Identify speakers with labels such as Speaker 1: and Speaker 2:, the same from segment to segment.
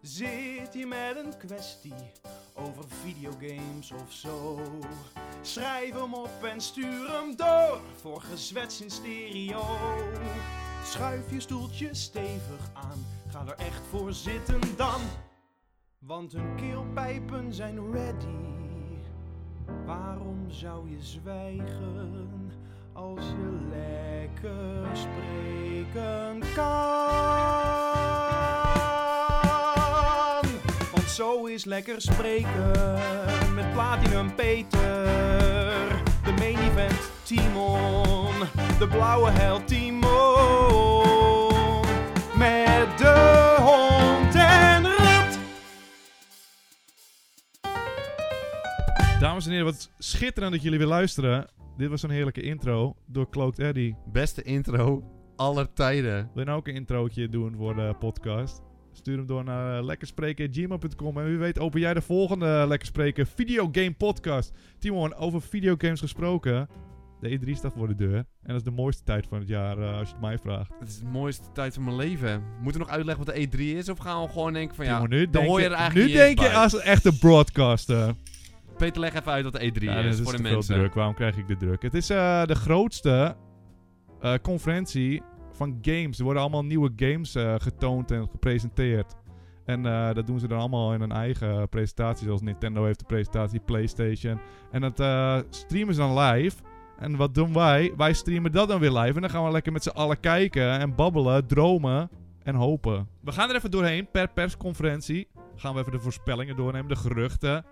Speaker 1: Zit hier met een kwestie over videogames of zo? Schrijf hem op en stuur hem door voor gezwets in stereo. Schuif je stoeltje stevig aan, ga er echt voor zitten dan. Want hun keelpijpen zijn ready. Waarom zou je zwijgen als je lekker spreken kan? Want zo is lekker spreken met Platinum Peter, de main event Timon, de blauwe held Timon, met de hond en rat.
Speaker 2: Dames en heren, wat schitterend dat jullie weer luisteren. Dit was een heerlijke intro door Cloaked Eddy.
Speaker 3: Beste intro aller tijden.
Speaker 2: Wil je nou ook een introotje doen voor de podcast? Stuur hem door naar eh, lekkerspreken.gmail.com. En wie weet open jij de volgende Lekker Spreken videogame podcast. Timon, over videogames gesproken. De E3 staat voor de deur. En dat is de mooiste tijd van het jaar, eh, als je het mij vraagt.
Speaker 3: Het is de mooiste tijd van mijn leven. Moeten we nog uitleggen wat de E3 is? Of gaan we gewoon denken van ja,
Speaker 2: Timon, nu
Speaker 3: dan
Speaker 2: denk
Speaker 3: hoor je
Speaker 2: je,
Speaker 3: er eigenlijk
Speaker 2: nu
Speaker 3: niet eens
Speaker 2: denk je
Speaker 3: bij.
Speaker 2: als een echte broadcaster.
Speaker 3: Peter, leg even uit wat de E3
Speaker 2: Ja,
Speaker 3: is
Speaker 2: dit
Speaker 3: voor de
Speaker 2: te veel
Speaker 3: mensen.
Speaker 2: druk. Waarom krijg ik de druk? Het is eh, de grootste eh, conferentie van games. Er worden allemaal nieuwe games eh, getoond en gepresenteerd. En eh, dat doen ze dan allemaal in hun eigen presentatie. Zoals Nintendo heeft de presentatie, PlayStation. En dat eh, streamen ze dan live. En wat doen wij? Wij streamen dat dan weer live. En dan gaan we lekker met z'n allen kijken en babbelen, dromen en hopen. We gaan er even doorheen per persconferentie. Gaan we even de voorspellingen doornemen, de geruchten.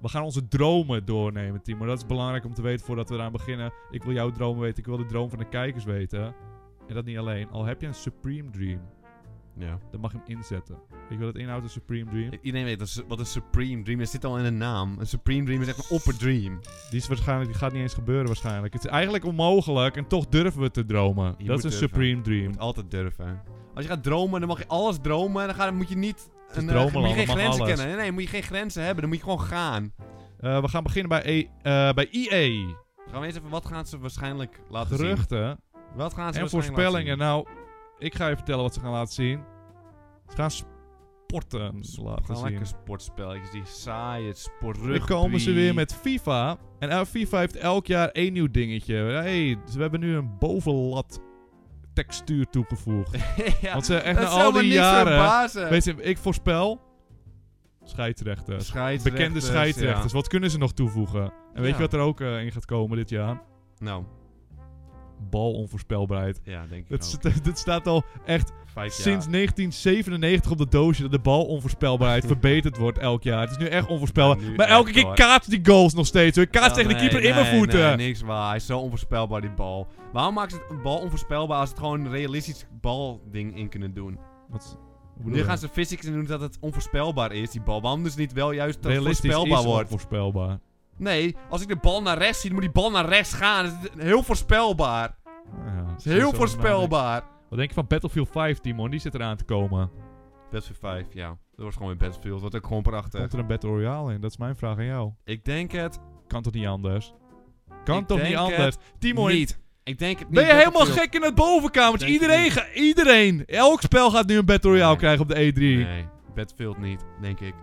Speaker 2: We gaan onze dromen doornemen, Timo. Dat is belangrijk om te weten voordat we eraan beginnen. Ik wil jouw dromen weten. Ik wil de droom van de kijkers weten. En dat niet alleen. Al heb je een Supreme Dream,
Speaker 3: Ja.
Speaker 2: dan mag je hem inzetten. Ik wil het inhoud een Supreme Dream.
Speaker 3: Iedereen weet dat, wat een Supreme Dream is. Zit al in de naam. Een Supreme Dream is echt een opper dream.
Speaker 2: Die, is waarschijnlijk, die gaat niet eens gebeuren waarschijnlijk. Het is eigenlijk onmogelijk en toch durven we te dromen.
Speaker 3: Je
Speaker 2: dat is
Speaker 3: moet
Speaker 2: een
Speaker 3: durven.
Speaker 2: Supreme
Speaker 3: Je
Speaker 2: Dream.
Speaker 3: moet altijd durven. Als je gaat dromen, dan mag je alles dromen. En dan, ga, dan moet je niet...
Speaker 2: is
Speaker 3: eh,
Speaker 2: dromen,
Speaker 3: moet je
Speaker 2: man.
Speaker 3: geen
Speaker 2: Dat mag
Speaker 3: grenzen
Speaker 2: alles.
Speaker 3: kennen. Nee, moet je geen grenzen hebben. Dan moet je gewoon gaan.
Speaker 2: Eh, we gaan beginnen bij, E- eh, bij EA.
Speaker 3: Gaan we eens even... Wat gaan ze waarschijnlijk laten zien?
Speaker 2: Geruchten
Speaker 3: Wat gaan ze
Speaker 2: en
Speaker 3: waarschijnlijk
Speaker 2: voorspellingen.
Speaker 3: laten
Speaker 2: Nou, ik ga je vertellen wat ze gaan laten zien. Ze gaan sporten
Speaker 3: zien?
Speaker 2: laten
Speaker 3: Gewoon
Speaker 2: zien.
Speaker 3: lekker sportspelletjes. Die saaie sport
Speaker 2: Nu komen ze weer met FIFA. En el- FIFA heeft elk jaar één nieuw dingetje. Hey, dus we hebben nu een bovenlat textuur toegevoegd.
Speaker 3: ja,
Speaker 2: Want ze echt
Speaker 3: dat
Speaker 2: na
Speaker 3: zou
Speaker 2: al
Speaker 3: me
Speaker 2: die
Speaker 3: niet
Speaker 2: jaren...
Speaker 3: verbazen.
Speaker 2: Weet je, ik voorspel... Scheidsrechters.
Speaker 3: Scheidsrechters,
Speaker 2: Bekende
Speaker 3: ja.
Speaker 2: scheidsrechters. Wat kunnen ze nog toevoegen? En weet
Speaker 3: Ja.
Speaker 2: je wat er ook eh, in gaat komen dit jaar?
Speaker 3: Nou,
Speaker 2: Balonvoorspelbaarheid.
Speaker 3: ja, denk ik
Speaker 2: Dat,
Speaker 3: wel.
Speaker 2: st- dat staat al echt
Speaker 3: Vijf jaar.
Speaker 2: sinds 1997 op de doosje dat de balonvoorspelbaarheid verbeterd wordt elk jaar. Het is nu echt onvoorspelbaar.
Speaker 3: Ja, nu
Speaker 2: maar elke
Speaker 3: echt,
Speaker 2: keer
Speaker 3: hoor.
Speaker 2: kaatst die goals nog steeds. hoor. Ik kaats
Speaker 3: Ja,
Speaker 2: tegen de
Speaker 3: nee,
Speaker 2: keeper in mijn
Speaker 3: nee,
Speaker 2: voeten.
Speaker 3: Nee, niks waar. Hij is zo onvoorspelbaar, die bal. Waarom maken ze het een bal onvoorspelbaar als ze het gewoon een realistisch balding in kunnen doen?
Speaker 2: Wat is- hoe bedoel
Speaker 3: Nu
Speaker 2: je?
Speaker 3: gaan ze physics in doen dat het onvoorspelbaar is, die bal. Waarom dus niet wel juist dat het
Speaker 2: Realistisch
Speaker 3: voorspelbaar
Speaker 2: is
Speaker 3: wordt?
Speaker 2: onvoorspelbaar.
Speaker 3: Nee, als ik de bal naar rechts zie, dan moet die bal naar rechts gaan. Dat is heel voorspelbaar.
Speaker 2: Ja,
Speaker 3: Dat
Speaker 2: zo-
Speaker 3: is heel
Speaker 2: zo-
Speaker 3: voorspelbaar.
Speaker 2: Wat denk je van Battlefield 5, Timon? Die zit eraan te komen.
Speaker 3: Battlefield 5, ja. Dat wordt gewoon weer Battlefield. Wordt ook gewoon prachtig.
Speaker 2: Komt er een Battle Royale in? Dat is mijn vraag aan jou.
Speaker 3: Ik denk het
Speaker 2: Kan toch niet anders? Kan
Speaker 3: Ik
Speaker 2: toch niet
Speaker 3: denk
Speaker 2: anders? Timon,
Speaker 3: niet. Ik denk het niet.
Speaker 2: ben je helemaal
Speaker 3: Battlefield-
Speaker 2: gek in het bovenkamertje?
Speaker 3: Denk het
Speaker 2: Iedereen,
Speaker 3: niet.
Speaker 2: ga- iedereen. Elk spel gaat nu een Battle Royale
Speaker 3: Nee.
Speaker 2: krijgen op de E E3.
Speaker 3: Nee, Battlefield niet, denk ik.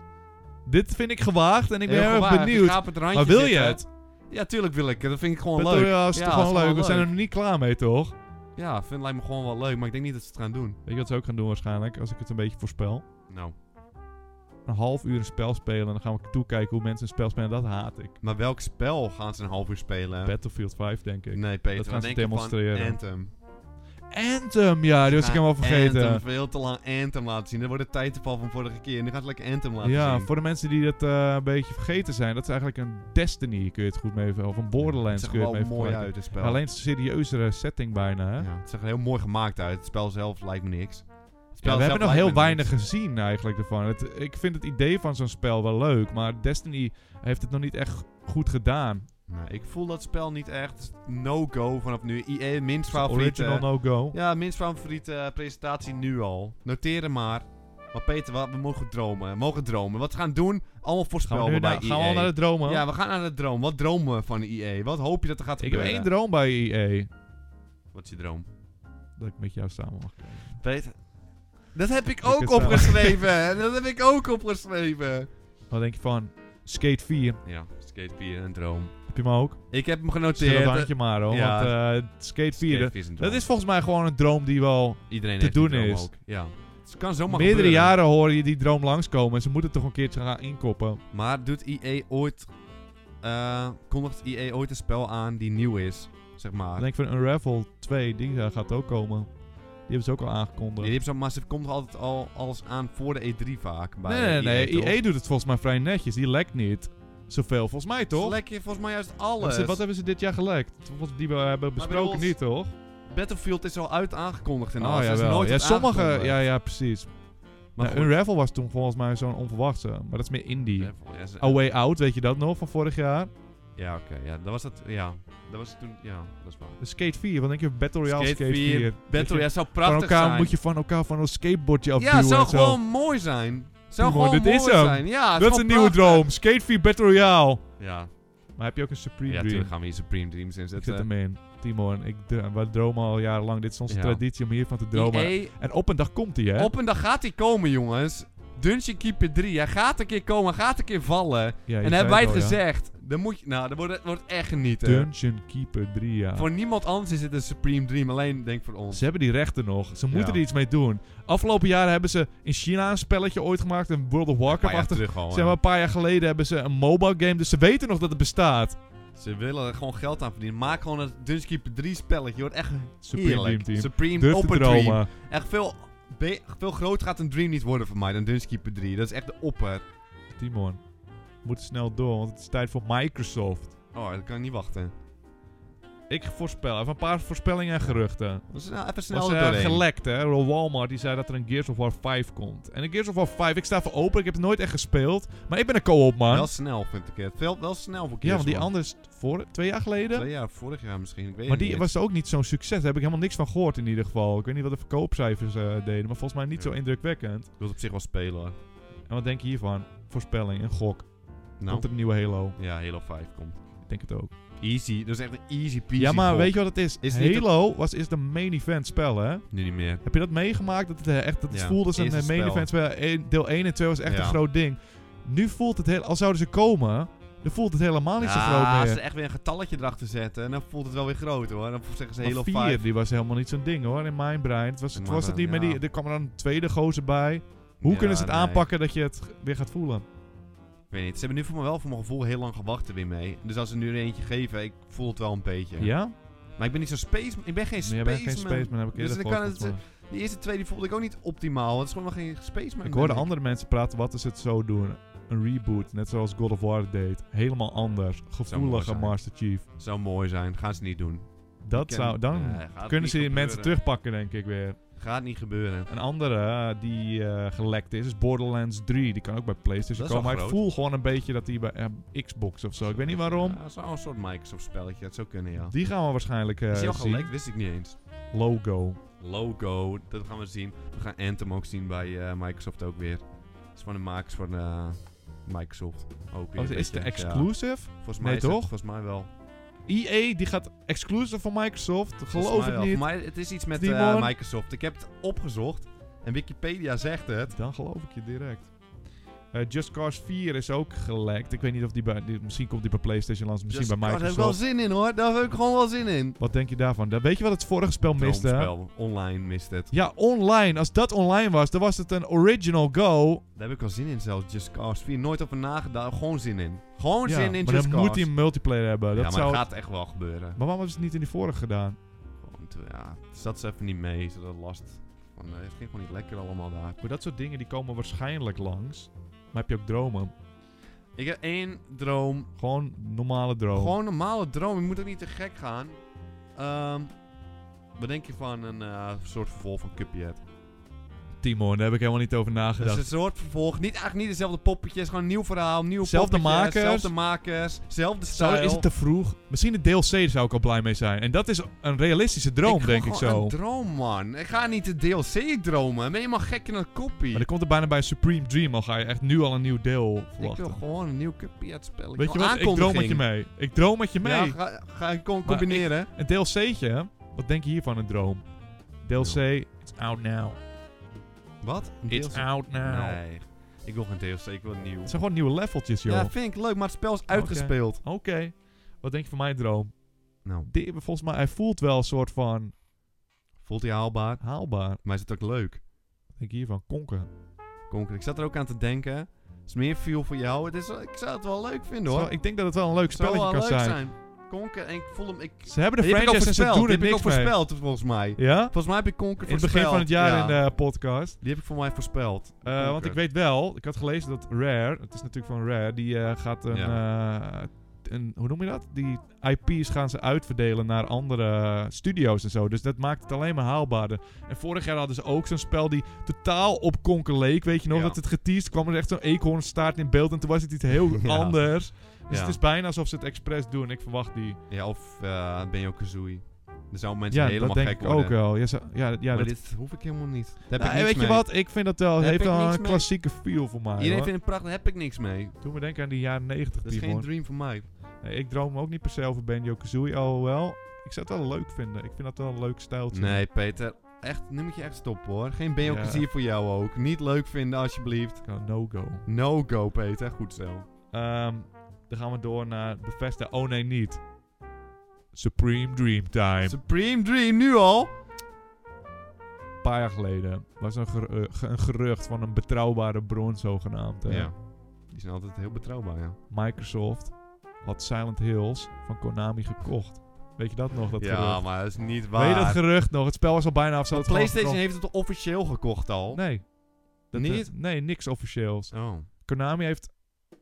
Speaker 2: Dit vind ik gewaagd en ik ben heel, erg
Speaker 3: gewaagd,
Speaker 2: benieuwd.
Speaker 3: ik ga op het randje
Speaker 2: Maar wil je
Speaker 3: zitten.
Speaker 2: het?
Speaker 3: Ja, tuurlijk wil ik het. Dat vind ik gewoon
Speaker 2: Battle
Speaker 3: leuk.
Speaker 2: Royale is
Speaker 3: Ja,
Speaker 2: toch
Speaker 3: dat is
Speaker 2: gewoon leuk?
Speaker 3: gewoon
Speaker 2: We zijn er
Speaker 3: leuk.
Speaker 2: nog niet klaar mee, toch?
Speaker 3: Ja, vind lijkt me gewoon wel leuk, maar ik denk niet dat ze het gaan doen.
Speaker 2: Weet je wat ze ook gaan doen waarschijnlijk, als ik het een beetje voorspel?
Speaker 3: Nou.
Speaker 2: Een half uur een spel spelen en dan gaan we toekijken hoe mensen een spel spelen. Dat haat ik.
Speaker 3: Maar welk spel gaan ze een half uur spelen?
Speaker 2: Battlefield 5, denk ik.
Speaker 3: nee, Peter,
Speaker 2: Dat gaan
Speaker 3: wat
Speaker 2: ze
Speaker 3: denk je van
Speaker 2: demonstreren.
Speaker 3: Anthem.
Speaker 2: Anthem, ja, die was ik helemaal vergeten.
Speaker 3: Anthem, veel te lang Anthem laten zien. Dat wordt het tijdval van vorige keer. En nu gaan ze lekker Anthem laten
Speaker 2: ja,
Speaker 3: zien.
Speaker 2: voor de mensen die dat eh, een beetje vergeten zijn, dat is eigenlijk een Destiny, kun je het goed mee ver- Of een
Speaker 3: Het
Speaker 2: Borderlands
Speaker 3: zag
Speaker 2: kun
Speaker 3: er
Speaker 2: je het
Speaker 3: wel
Speaker 2: mee
Speaker 3: mooi
Speaker 2: vergelijken.
Speaker 3: uit, het spel.
Speaker 2: Alleen een serieuzere setting bijna, hè?
Speaker 3: Ja,
Speaker 2: Ja,
Speaker 3: het zag er heel mooi gemaakt uit. Het spel zelf lijkt me niks. Het spel
Speaker 2: we
Speaker 3: zelf
Speaker 2: hebben nog
Speaker 3: lijkt
Speaker 2: heel
Speaker 3: me
Speaker 2: weinig
Speaker 3: niks.
Speaker 2: gezien eigenlijk ervan. Het, ik vind het idee van zo'n spel wel leuk, maar Destiny heeft het nog niet echt goed gedaan.
Speaker 3: Nou, ik voel dat spel niet echt no-go vanaf nu. IE, minst favoriete...
Speaker 2: Original no-go.
Speaker 3: Ja, minst favoriete eh, presentatie nu al. Noteren maar. Maar Peter, wat, we mogen dromen. We mogen dromen. Wat we gaan doen? Allemaal
Speaker 2: Gaan we, nu
Speaker 3: voorspelbaar bij
Speaker 2: naar, gaan we al
Speaker 3: EA.
Speaker 2: naar de dromen?
Speaker 3: Ja, we gaan naar de droom. Wat dromen we van EA? Wat hoop je dat er
Speaker 2: ik
Speaker 3: gaat
Speaker 2: heb
Speaker 3: gebeuren?
Speaker 2: één droom bij E EA.
Speaker 3: Wat is je droom?
Speaker 2: Dat ik met jou samen mag kijken.
Speaker 3: Peter? Dat heb ik
Speaker 2: Dat
Speaker 3: ook
Speaker 2: is, eh,
Speaker 3: opgeschreven. dat heb ik ook opgeschreven.
Speaker 2: Wat denk je van? Skate 4.
Speaker 3: Ja, Skate 4 een droom.
Speaker 2: Heb je hem ook?
Speaker 3: Ik heb hem
Speaker 2: Zet
Speaker 3: genoteerd.
Speaker 2: dat handje maar hoor.
Speaker 3: eh, ja.
Speaker 2: Want eh, Skate 4,
Speaker 3: Skate
Speaker 2: dat-
Speaker 3: 4 is een droom.
Speaker 2: dat is volgens mij gewoon een droom die wel...
Speaker 3: Iedereen
Speaker 2: te
Speaker 3: heeft die
Speaker 2: doen
Speaker 3: droom
Speaker 2: is.
Speaker 3: Ook. Ja. Het kan zomaar
Speaker 2: meerdere
Speaker 3: gebeuren.
Speaker 2: jaren hoor je die droom langskomen. En ze moeten toch een keertje gaan inkoppen.
Speaker 3: Maar doet EA ooit... eh, kondigt EA ooit een spel aan die nieuw is? Zeg maar.
Speaker 2: Ik denk van Unravel 2, die eh, gaat ook komen. Die hebben ze ook al
Speaker 3: Die
Speaker 2: aangekondigd.
Speaker 3: hebben zo'n maar ze komt altijd al alles aan voor de E3 vaak. Bij E
Speaker 2: nee, nee, nee. E
Speaker 3: EA, eh, toch?
Speaker 2: EA doet het volgens mij vrij netjes. Die lekt niet zoveel, volgens mij
Speaker 3: Ze
Speaker 2: toch?
Speaker 3: lekken volgens mij juist
Speaker 2: Hebben
Speaker 3: alles.
Speaker 2: ze- wat hebben ze dit jaar gelekt? Wat die we hebben besproken
Speaker 3: bedoel-
Speaker 2: niet, toch?
Speaker 3: Battlefield is al uit aangekondigd en alles.
Speaker 2: oh,
Speaker 3: Er is
Speaker 2: jawel.
Speaker 3: nooit
Speaker 2: ja,
Speaker 3: wat
Speaker 2: sommige...
Speaker 3: aangekondigd.
Speaker 2: Ja, ja, precies.
Speaker 3: Maar
Speaker 2: Nou,
Speaker 3: goed,
Speaker 2: Unravel was toen volgens mij zo'n onverwachte. Maar dat is meer indie.
Speaker 3: Unravel, ja, ze-
Speaker 2: A Way Out, weet je dat nog, van vorig jaar?
Speaker 3: Ja, oké. ja, dat was dat. Ja, dat was toen. Ja, dat is waar.
Speaker 2: Skate 4, wat denk je? Battle Royale Skate, 4. Dat je
Speaker 3: Battle, ja, zou
Speaker 2: van
Speaker 3: prachtig
Speaker 2: elkaar
Speaker 3: zijn.
Speaker 2: moet je van elkaar van een skateboardje afduwen.
Speaker 3: ja, zou
Speaker 2: en zo.
Speaker 3: gewoon mooi zijn. Zou
Speaker 2: Timon,
Speaker 3: gewoon
Speaker 2: dit
Speaker 3: mooi
Speaker 2: is hem.
Speaker 3: zijn. Ja, het
Speaker 2: Dat is een
Speaker 3: gewoon
Speaker 2: nieuwe
Speaker 3: prachtig.
Speaker 2: droom. Skate 4 Battle Royale.
Speaker 3: Ja,
Speaker 2: Maar heb je ook een Supreme
Speaker 3: ja
Speaker 2: Dream?
Speaker 3: natuurlijk gaan we hier Supreme Dreams
Speaker 2: Ik zet
Speaker 3: inzetten.
Speaker 2: hem in. Timon, ik dr- we dromen al jarenlang. Dit is onze
Speaker 3: eh, Ja.
Speaker 2: traditie om hiervan te dromen.
Speaker 3: EA,
Speaker 2: En op een dag komt hij, hè?
Speaker 3: op een dag gaat hij komen, jongens. Dungeon Keeper 3, hij gaat een keer komen, hij gaat een keer vallen.
Speaker 2: Ja, je
Speaker 3: en
Speaker 2: zei
Speaker 3: hebben wij het
Speaker 2: al, ja.
Speaker 3: gezegd. Dan moet je, nou, dan wordt het wordt echt genieten.
Speaker 2: Dungeon Keeper 3, ja.
Speaker 3: Voor niemand anders is het een Supreme Dream, alleen denk voor ons.
Speaker 2: Ze hebben die rechten nog. Ze moeten
Speaker 3: Ja.
Speaker 2: er iets mee doen. Afgelopen jaren hebben ze in China een spelletje ooit gemaakt. Een World of
Speaker 3: Een paar jaar
Speaker 2: Warcraft-achtig.
Speaker 3: terug al,
Speaker 2: Zeg maar, een paar jaar geleden hebben ze een mobile game. Dus ze weten nog dat het bestaat.
Speaker 3: Ze willen er gewoon geld aan verdienen. Maak gewoon het Dungeon Keeper 3 spelletje. Je wordt echt
Speaker 2: Supreme Dream
Speaker 3: heerlijk.
Speaker 2: Team.
Speaker 3: Supreme
Speaker 2: Durf
Speaker 3: op
Speaker 2: te
Speaker 3: een dream.
Speaker 2: dromen.
Speaker 3: Echt veel, be- veel groter gaat een dream niet worden voor mij dan Dungeon Keeper 3. Dat is echt de opper.
Speaker 2: Timon, we moeten snel door, want het is tijd voor Microsoft.
Speaker 3: Oh, dat kan ik niet wachten.
Speaker 2: Ik voorspel, even een paar voorspellingen en geruchten.
Speaker 3: Dat is nou even
Speaker 2: Het was
Speaker 3: snel
Speaker 2: eh,
Speaker 3: doorheen.
Speaker 2: gelekt, hè? Door Walmart die zei dat er een Gears of War 5 komt. En een Gears of War 5, ik sta voor open, ik heb het nooit echt gespeeld. Maar ik ben een co-op man.
Speaker 3: Wel snel vind ik het. Veel, wel snel voor
Speaker 2: ja, want die
Speaker 3: Gears of
Speaker 2: andere is voor, twee jaar
Speaker 3: War.
Speaker 2: geleden.
Speaker 3: Twee jaar, vorig jaar misschien. Ik weet
Speaker 2: maar
Speaker 3: het
Speaker 2: die
Speaker 3: niet.
Speaker 2: was ook niet zo'n succes. Daar heb ik helemaal niks van gehoord in ieder geval. Ik weet niet wat de verkoopcijfers eh, deden, maar volgens mij niet
Speaker 3: Ja.
Speaker 2: zo indrukwekkend.
Speaker 3: Ik wil het op zich wel spelen hoor.
Speaker 2: En wat denk je hiervan? Voorspelling, een gok. Komt
Speaker 3: Nou.
Speaker 2: er een nieuwe Halo?
Speaker 3: Ja, Halo 5 komt.
Speaker 2: Ik denk het ook.
Speaker 3: Easy. Dat is echt een easy peasy.
Speaker 2: Ja, maar
Speaker 3: gok.
Speaker 2: weet je wat het is?
Speaker 3: Is niet
Speaker 2: Halo was is de main event spel, hè?
Speaker 3: Nu niet meer.
Speaker 2: Heb je dat meegemaakt? Dat het eh, echt dat het
Speaker 3: Ja,
Speaker 2: voelde als een
Speaker 3: eerste
Speaker 2: eh, main
Speaker 3: spel.
Speaker 2: event spel. Eén- Deel 1 en 2 was echt
Speaker 3: Ja.
Speaker 2: een groot ding. Nu voelt het heel... Al zouden ze komen, dan voelt het helemaal niet zo groot
Speaker 3: Nou, als ze
Speaker 2: meer.
Speaker 3: echt weer een getalletje erachter zetten, en dan voelt het wel weer groot hoor. Dan zeggen ze Halo
Speaker 2: Maar
Speaker 3: 5.
Speaker 2: 4, die was helemaal niet zo'n ding hoor, in mijn brein. Het was,
Speaker 3: In
Speaker 2: het,
Speaker 3: mijn
Speaker 2: was het
Speaker 3: brein,
Speaker 2: niet meer
Speaker 3: ja.
Speaker 2: die... Er kwam er dan een tweede gozer bij. Hoe
Speaker 3: Ja,
Speaker 2: kunnen ze het
Speaker 3: nee.
Speaker 2: aanpakken dat je het g- weer gaat voelen?
Speaker 3: Ik weet niet. Ze hebben nu voor me wel voor mijn gevoel heel lang gewacht er weer mee. Dus als ze nu er eentje geven, ik voel het wel een beetje.
Speaker 2: Ja? ja?
Speaker 3: Maar ik ben niet zo'n space. Ik ben geen
Speaker 2: Nee, jij
Speaker 3: spaceman.
Speaker 2: bent geen spaceman, heb ik
Speaker 3: Dus
Speaker 2: eerder
Speaker 3: dan
Speaker 2: gehoord,
Speaker 3: kan het-
Speaker 2: volgens mij.
Speaker 3: De eerste twee die voelde ik ook niet optimaal. want Het is gewoon nog geen spaceman.
Speaker 2: Ik hoorde
Speaker 3: denk
Speaker 2: andere mensen praten, wat is het zo doen? Een reboot, net zoals God of War deed. Helemaal anders. Gevoeliger
Speaker 3: zijn.
Speaker 2: Master Chief.
Speaker 3: Zou mooi zijn. Gaan ze niet doen.
Speaker 2: Dat
Speaker 3: Ken-
Speaker 2: zou... Dan
Speaker 3: Nee, gaat het
Speaker 2: kunnen
Speaker 3: niet
Speaker 2: ze die mensen
Speaker 3: gebeuren.
Speaker 2: terugpakken, denk ik weer.
Speaker 3: Gaat niet gebeuren.
Speaker 2: Een andere eh, die eh, gelekt is, is Borderlands 3. Die kan ook bij PlayStation
Speaker 3: Dat is
Speaker 2: komen.
Speaker 3: wel
Speaker 2: Maar ik
Speaker 3: groot.
Speaker 2: voel gewoon een beetje dat die bij eh, Xbox of zo. Ik weet niet waarom.
Speaker 3: Ja, dat zou een soort Microsoft spelletje. Dat zou kunnen, ja.
Speaker 2: Die gaan we waarschijnlijk eh
Speaker 3: is die al
Speaker 2: zien.
Speaker 3: gelekt? Wist ik niet eens.
Speaker 2: Logo.
Speaker 3: Logo. Dat gaan we zien. We gaan Anthem ook zien bij eh, Microsoft ook weer. Dat is van de makers van eh, Microsoft. Ook weer
Speaker 2: Oh,
Speaker 3: een
Speaker 2: is het
Speaker 3: beetje,
Speaker 2: exclusive?
Speaker 3: ja. Volgens mij
Speaker 2: Nee,
Speaker 3: is het-
Speaker 2: toch?
Speaker 3: Volgens mij wel.
Speaker 2: EA die gaat exclusive van Microsoft.
Speaker 3: Volgens
Speaker 2: Geloof
Speaker 3: mij
Speaker 2: het
Speaker 3: wel.
Speaker 2: niet.
Speaker 3: Maar het is iets met
Speaker 2: Timon?
Speaker 3: eh, Microsoft. Ik heb het opgezocht. En Wikipedia zegt het.
Speaker 2: Dan geloof ik je direct. Eh, Just Cause 4 is ook gelekt. Ik weet niet of die bij... die- misschien komt die bij PlayStation langs. Misschien bij
Speaker 3: Dus Daar heb ik
Speaker 2: Microsoft.
Speaker 3: wel zin in hoor. Daar heb ik gewoon wel zin in.
Speaker 2: Wat denk je daarvan? Da- Weet je wat het vorige spel miste?
Speaker 3: Droomspel. Online mist het.
Speaker 2: Ja, online. Als dat online was, dan was het een original go.
Speaker 3: Daar heb ik wel zin in zelfs. Just Cause 4. Nooit over nagedacht. Gewoon zin in. Gewoon zin in
Speaker 2: maar
Speaker 3: Just
Speaker 2: dan
Speaker 3: Cause.
Speaker 2: moet hij een multiplayer hebben.
Speaker 3: ja,
Speaker 2: Dat
Speaker 3: maar
Speaker 2: zou...
Speaker 3: dat
Speaker 2: maar
Speaker 3: gaat echt wel gebeuren.
Speaker 2: waarom hebben ze het niet in die vorige gedaan?
Speaker 3: Want, eh, ja, het zat ze even niet mee. Ze hadden last. Van, eh, het ging gewoon niet lekker allemaal daar.
Speaker 2: Maar dat soort dingen die komen waarschijnlijk langs. Maar heb je ook dromen?
Speaker 3: Ik heb één droom
Speaker 2: Gewoon normale droom.
Speaker 3: Gewoon een normale droom. Je moet ook niet te gek gaan. Ehm wat denk je van een eh, soort vervolg van Cuphead?
Speaker 2: Timon, daar heb ik helemaal niet over
Speaker 3: Het is
Speaker 2: nagedacht.
Speaker 3: een soort vervolg. Niet, eigenlijk niet dezelfde poppetjes. Gewoon een nieuw verhaal. Nieuwe
Speaker 2: Zelfde
Speaker 3: poppetjes,
Speaker 2: makers.
Speaker 3: Zelfde makers. Zelfde
Speaker 2: Zou-
Speaker 3: stijl.
Speaker 2: is het te vroeg? Misschien de DLC zou ik al blij mee zijn. En dat is een realistische droom,
Speaker 3: ik
Speaker 2: denk ik
Speaker 3: gewoon
Speaker 2: zo.
Speaker 3: een droom, man. Ik ga niet de DLC dromen. Ben je helemaal gek in een kopie?
Speaker 2: Maar er komt er bijna bij Supreme Dream al. Ga je echt nu al een nieuw deel
Speaker 3: Ik wil
Speaker 2: verwachten.
Speaker 3: gewoon een nieuw Cuphead spel.
Speaker 2: Weet je wat? Ik droom met je mee. Ik droom met je mee.
Speaker 3: Ja, ga, ga ik gewoon combineren.
Speaker 2: Een DLC'tje. Wat denk je hiervan, een droom? DLC, it's out now.
Speaker 3: Wat? Een
Speaker 4: It's
Speaker 3: DLC?
Speaker 4: out now.
Speaker 3: Nee. Ik wil geen DLC, ik wil nieuw.
Speaker 2: Het zijn gewoon nieuwe leveltjes, joh.
Speaker 3: Ja, vind ik leuk, maar het spel is uitgespeeld.
Speaker 2: Oké. Wat denk je van mijn droom?
Speaker 3: Nou,
Speaker 2: Die, volgens mij, hij voelt wel een soort van
Speaker 3: voelt hij haalbaar?
Speaker 2: haalbaar.
Speaker 3: Maar is het ook leuk?
Speaker 2: Wat Denk ik hiervan, konken.
Speaker 3: Konker, ik zat er ook aan te denken. Het is meer viel voor jou. Het is, ik zou het wel leuk vinden hoor.
Speaker 2: Zo, ik denk dat het wel een leuk
Speaker 3: Het zou
Speaker 2: spelletje
Speaker 3: wel
Speaker 2: kan
Speaker 3: leuk
Speaker 2: zijn.
Speaker 3: zijn. Konker en ik voel hem... Ik,
Speaker 2: Ze hebben de
Speaker 3: Die heb ik al
Speaker 2: franchise en ze
Speaker 3: voorspeld.
Speaker 2: doen
Speaker 3: Die
Speaker 2: er
Speaker 3: heb ik al
Speaker 2: niks mee.
Speaker 3: voorspeld volgens mij.
Speaker 2: Ja?
Speaker 3: Volgens mij heb ik Konker
Speaker 2: In het
Speaker 3: voorspeld.
Speaker 2: begin van het jaar
Speaker 3: ja.
Speaker 2: in de podcast.
Speaker 3: Die heb ik voor mij voorspeld.
Speaker 2: Eh, want
Speaker 3: Conker.
Speaker 2: ik weet wel, ik had gelezen dat Rare, het is natuurlijk van Rare, die eh, gaat een, eh, een, hoe noem je dat? Die IP's gaan ze uitverdelen naar andere studio's en zo. Dus dat maakt het alleen maar haalbaarder. En vorig jaar hadden ze ook zo'n spel die totaal op konken leek. Weet je nog,
Speaker 3: Ja.
Speaker 2: dat het geteased kwam er echt zo'n eekhoornstaart in beeld en toen was het iets heel
Speaker 3: Ja.
Speaker 2: anders. Dus
Speaker 3: Ja.
Speaker 2: het is bijna alsof ze het expres doen. Ik verwacht die.
Speaker 3: Ja, of eh ben je ook Kazooie. Er zouden mensen
Speaker 2: Ja,
Speaker 3: helemaal
Speaker 2: dat denk
Speaker 3: gek
Speaker 2: ik
Speaker 3: worden.
Speaker 2: ook wel. Ja, ze- ja, ja
Speaker 3: maar
Speaker 2: dat
Speaker 3: dit hoef ik helemaal niet. Daar heb
Speaker 2: Nou,
Speaker 3: ik niks
Speaker 2: weet je
Speaker 3: mee.
Speaker 2: wat? Ik vind dat wel.
Speaker 3: Heb
Speaker 2: heeft
Speaker 3: ik
Speaker 2: wel
Speaker 3: niks
Speaker 2: een
Speaker 3: mee.
Speaker 2: klassieke feel voor mij.
Speaker 3: Iedereen
Speaker 2: hoor.
Speaker 3: vindt het prachtig, daar heb ik niks mee.
Speaker 2: Doe me denken aan die jaren 90
Speaker 3: Dat is geen
Speaker 2: Timon.
Speaker 3: dream van mij.
Speaker 2: Nee, ik droom ook niet per se over Benjo Kazooie. Alhoewel, ik zou het wel leuk vinden. Ik vind dat wel een leuk stijltje.
Speaker 3: Nee, Peter. Echt, nu moet je echt stoppen hoor. Geen ben je ook
Speaker 2: Ja.
Speaker 3: plezier voor jou ook. Niet leuk vinden alsjeblieft.
Speaker 2: Nou, No-go.
Speaker 3: No go, Peter. Goed zo.
Speaker 2: Ehm, dan gaan we door naar Bethesda. Oh nee, niet. Supreme Dream Time.
Speaker 3: Supreme Dream nu al.
Speaker 2: Een paar jaar geleden was een, ger- eh, ge- een gerucht van een betrouwbare bron zogenaamd. hè.
Speaker 3: Ja. Die zijn altijd heel betrouwbaar, ja.
Speaker 2: Microsoft had Silent Hills van Konami gekocht. Weet je dat nog? Dat
Speaker 3: ja,
Speaker 2: gerucht?
Speaker 3: maar dat is niet waar.
Speaker 2: Weet je dat gerucht nog? Het spel was al bijna af. ze hadden het gewoon
Speaker 3: PlayStation heeft het officieel gekocht al.
Speaker 2: Nee.
Speaker 3: Niet?
Speaker 2: eh, nee, niks officieels.
Speaker 3: Oh.
Speaker 2: Konami heeft,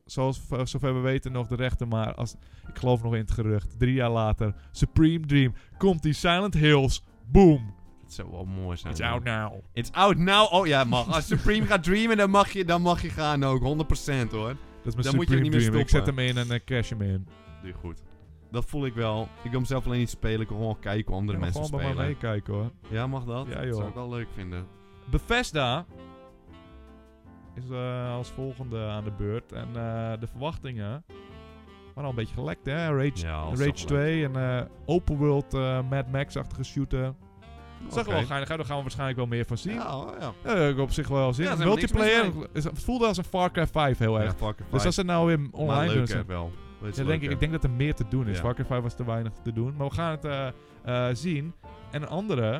Speaker 2: zoals v- zover we weten, nog de rechten, maar als, ik geloof nog in het gerucht. Drie jaar later, Supreme Dream, komt die Silent Hills, boom.
Speaker 3: Dat zou wel mooi zijn.
Speaker 2: It's
Speaker 3: hoor.
Speaker 2: out now.
Speaker 3: It's out now. Oh ja, mag. Als Supreme gaat dreamen, dan mag je, dan mag je gaan ook. 100% hoor.
Speaker 2: Dat is mijn
Speaker 3: Dan moet je
Speaker 2: Supreme
Speaker 3: niet meer
Speaker 2: Dream. Ik zet hem
Speaker 3: stoppen.
Speaker 2: in en ik cash hem in.
Speaker 3: Doe je goed. Dat voel ik wel. Ik wil hem zelf alleen niet spelen. Ik wil gewoon kijken hoe andere
Speaker 2: Ja, maar
Speaker 3: mensen
Speaker 2: gewoon bij mij
Speaker 3: spelen.
Speaker 2: meekijken hoor.
Speaker 3: ja, mag dat?
Speaker 2: Ja,
Speaker 3: Dat
Speaker 2: joh.
Speaker 3: zou ik wel leuk vinden.
Speaker 2: Bethesda is eh, als volgende aan de beurt. En eh, de verwachtingen waren al een beetje gelekt, hè? Rage,
Speaker 3: Ja, dat is
Speaker 2: Rage
Speaker 3: toch leuk.
Speaker 2: 2, een eh, open world eh, Mad Max-achtige shooter. Dat zag er wel
Speaker 3: Oké.
Speaker 2: geinig uit, daar gaan we waarschijnlijk wel meer van zien.
Speaker 3: Ja, oh, ja.
Speaker 2: Ja, ik heb op zich wel zin.
Speaker 3: Ja,
Speaker 2: in.
Speaker 3: ze hebben niks
Speaker 2: Multiplayer
Speaker 3: mis
Speaker 2: is- het voelde als een Far Cry 5 heel erg.
Speaker 3: Ja, fuck it,
Speaker 2: dus
Speaker 3: fine.
Speaker 2: als ze nou weer
Speaker 3: maar
Speaker 2: online
Speaker 3: leuk
Speaker 2: doen,
Speaker 3: hè,
Speaker 2: zijn-
Speaker 3: wel. Dat is
Speaker 2: ja, denk ik,
Speaker 3: leuk,
Speaker 2: ik denk dat er meer te doen is.
Speaker 3: Ja.
Speaker 2: Far Cry 5 was te weinig te doen. Maar we gaan het eh, eh, zien. En een andere,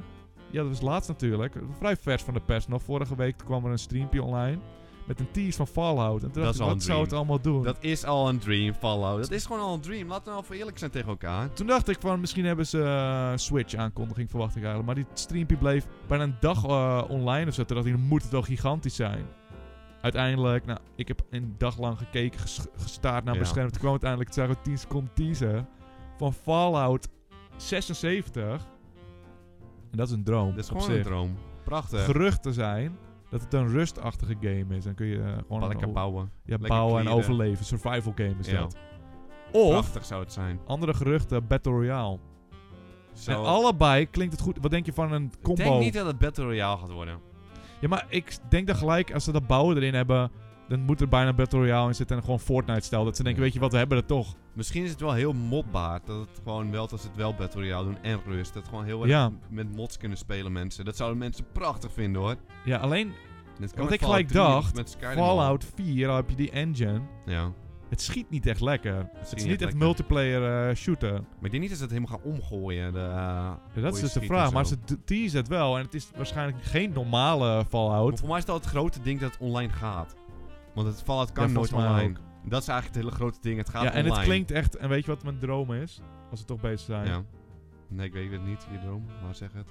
Speaker 2: ja dat was laatst natuurlijk, vrij vers van de pers nog. Vorige week kwam er een streampje online met een tease van Fallout. En toen
Speaker 3: Dat
Speaker 2: dacht
Speaker 3: is
Speaker 2: ik,
Speaker 3: al
Speaker 2: wat
Speaker 3: een
Speaker 2: zou het allemaal doen?
Speaker 3: hè. Dat is al een dream, Fallout. Dat is gewoon al een dream. Laten we nou even eerlijk zijn tegen elkaar.
Speaker 2: Toen dacht ik van, misschien hebben ze eh, een Switch-aankondiging, verwacht ik eigenlijk. Maar die streampje bleef bijna een dag eh, online of zo. Toen dacht ik, dan moet het wel gigantisch zijn. Uiteindelijk, nou, ik heb een dag lang gekeken, ges- gestaard naar mijn
Speaker 3: Ja.
Speaker 2: scherm. Toen kwam uiteindelijk, toen zagen we 10 seconden teaser van Fallout 76. En dat is een droom
Speaker 3: Dat
Speaker 2: op
Speaker 3: is gewoon
Speaker 2: zich.
Speaker 3: een droom. Prachtig.
Speaker 2: Geruchten zijn dat het een rustachtige game is. Dan kun je eh, gewoon een
Speaker 3: Lekker
Speaker 2: o- ja,
Speaker 3: bouwen. lekker
Speaker 2: bouwen en
Speaker 3: clearen.
Speaker 2: overleven. Survival game is
Speaker 3: Ja.
Speaker 2: dat. Of,
Speaker 3: Prachtig zou het zijn.
Speaker 2: andere geruchten, Battle Royale.
Speaker 3: Zo.
Speaker 2: En allebei klinkt het goed. Wat denk je van een
Speaker 3: Ik
Speaker 2: combo?
Speaker 3: denk niet dat het Battle Royale gaat worden.
Speaker 2: Ja, maar ik denk dan gelijk, als ze dat bouwen erin hebben, dan moet er bijna Battle Royale in zitten en gewoon Fortnite-stijl. Dat ze denken,
Speaker 3: Ja.
Speaker 2: weet je wat, we hebben dat toch.
Speaker 3: Misschien is het wel heel modbaar dat het gewoon wel, als ze het wel Battle Royale doen en rust, dat gewoon heel erg
Speaker 2: Ja.
Speaker 3: m- met mods kunnen spelen mensen. Dat zouden mensen prachtig vinden hoor.
Speaker 2: Ja, alleen
Speaker 3: Net
Speaker 2: Wat ik gelijk dacht,
Speaker 3: met Skyrim al.
Speaker 2: Fallout 4, al heb je die engine.
Speaker 3: Ja.
Speaker 2: Het schiet niet echt lekker. het is niet
Speaker 3: niet
Speaker 2: echt
Speaker 3: echt lekker.
Speaker 2: multiplayer eh, shooter.
Speaker 3: Maar ik denk niet dat ze het helemaal gaan omgooien. De, eh,
Speaker 2: Ja, dat
Speaker 3: hoe je
Speaker 2: is dus de
Speaker 3: schiet en
Speaker 2: vraag.
Speaker 3: zo.
Speaker 2: Maar ze d- teasen het wel. En het is waarschijnlijk geen normale
Speaker 3: Maar
Speaker 2: Fallout.
Speaker 3: voor mij is het al het grote ding dat het online gaat. Want het Fallout kan
Speaker 2: Ja,
Speaker 3: nooit
Speaker 2: volgens mij
Speaker 3: online. Dat is eigenlijk het hele grote ding. Het gaat
Speaker 2: Ja, en
Speaker 3: online.
Speaker 2: het klinkt echt... En weet je wat mijn droom is? Als we toch bezig zijn.
Speaker 3: Ja. Nee, ik weet het niet, je droom. Maar zeg het.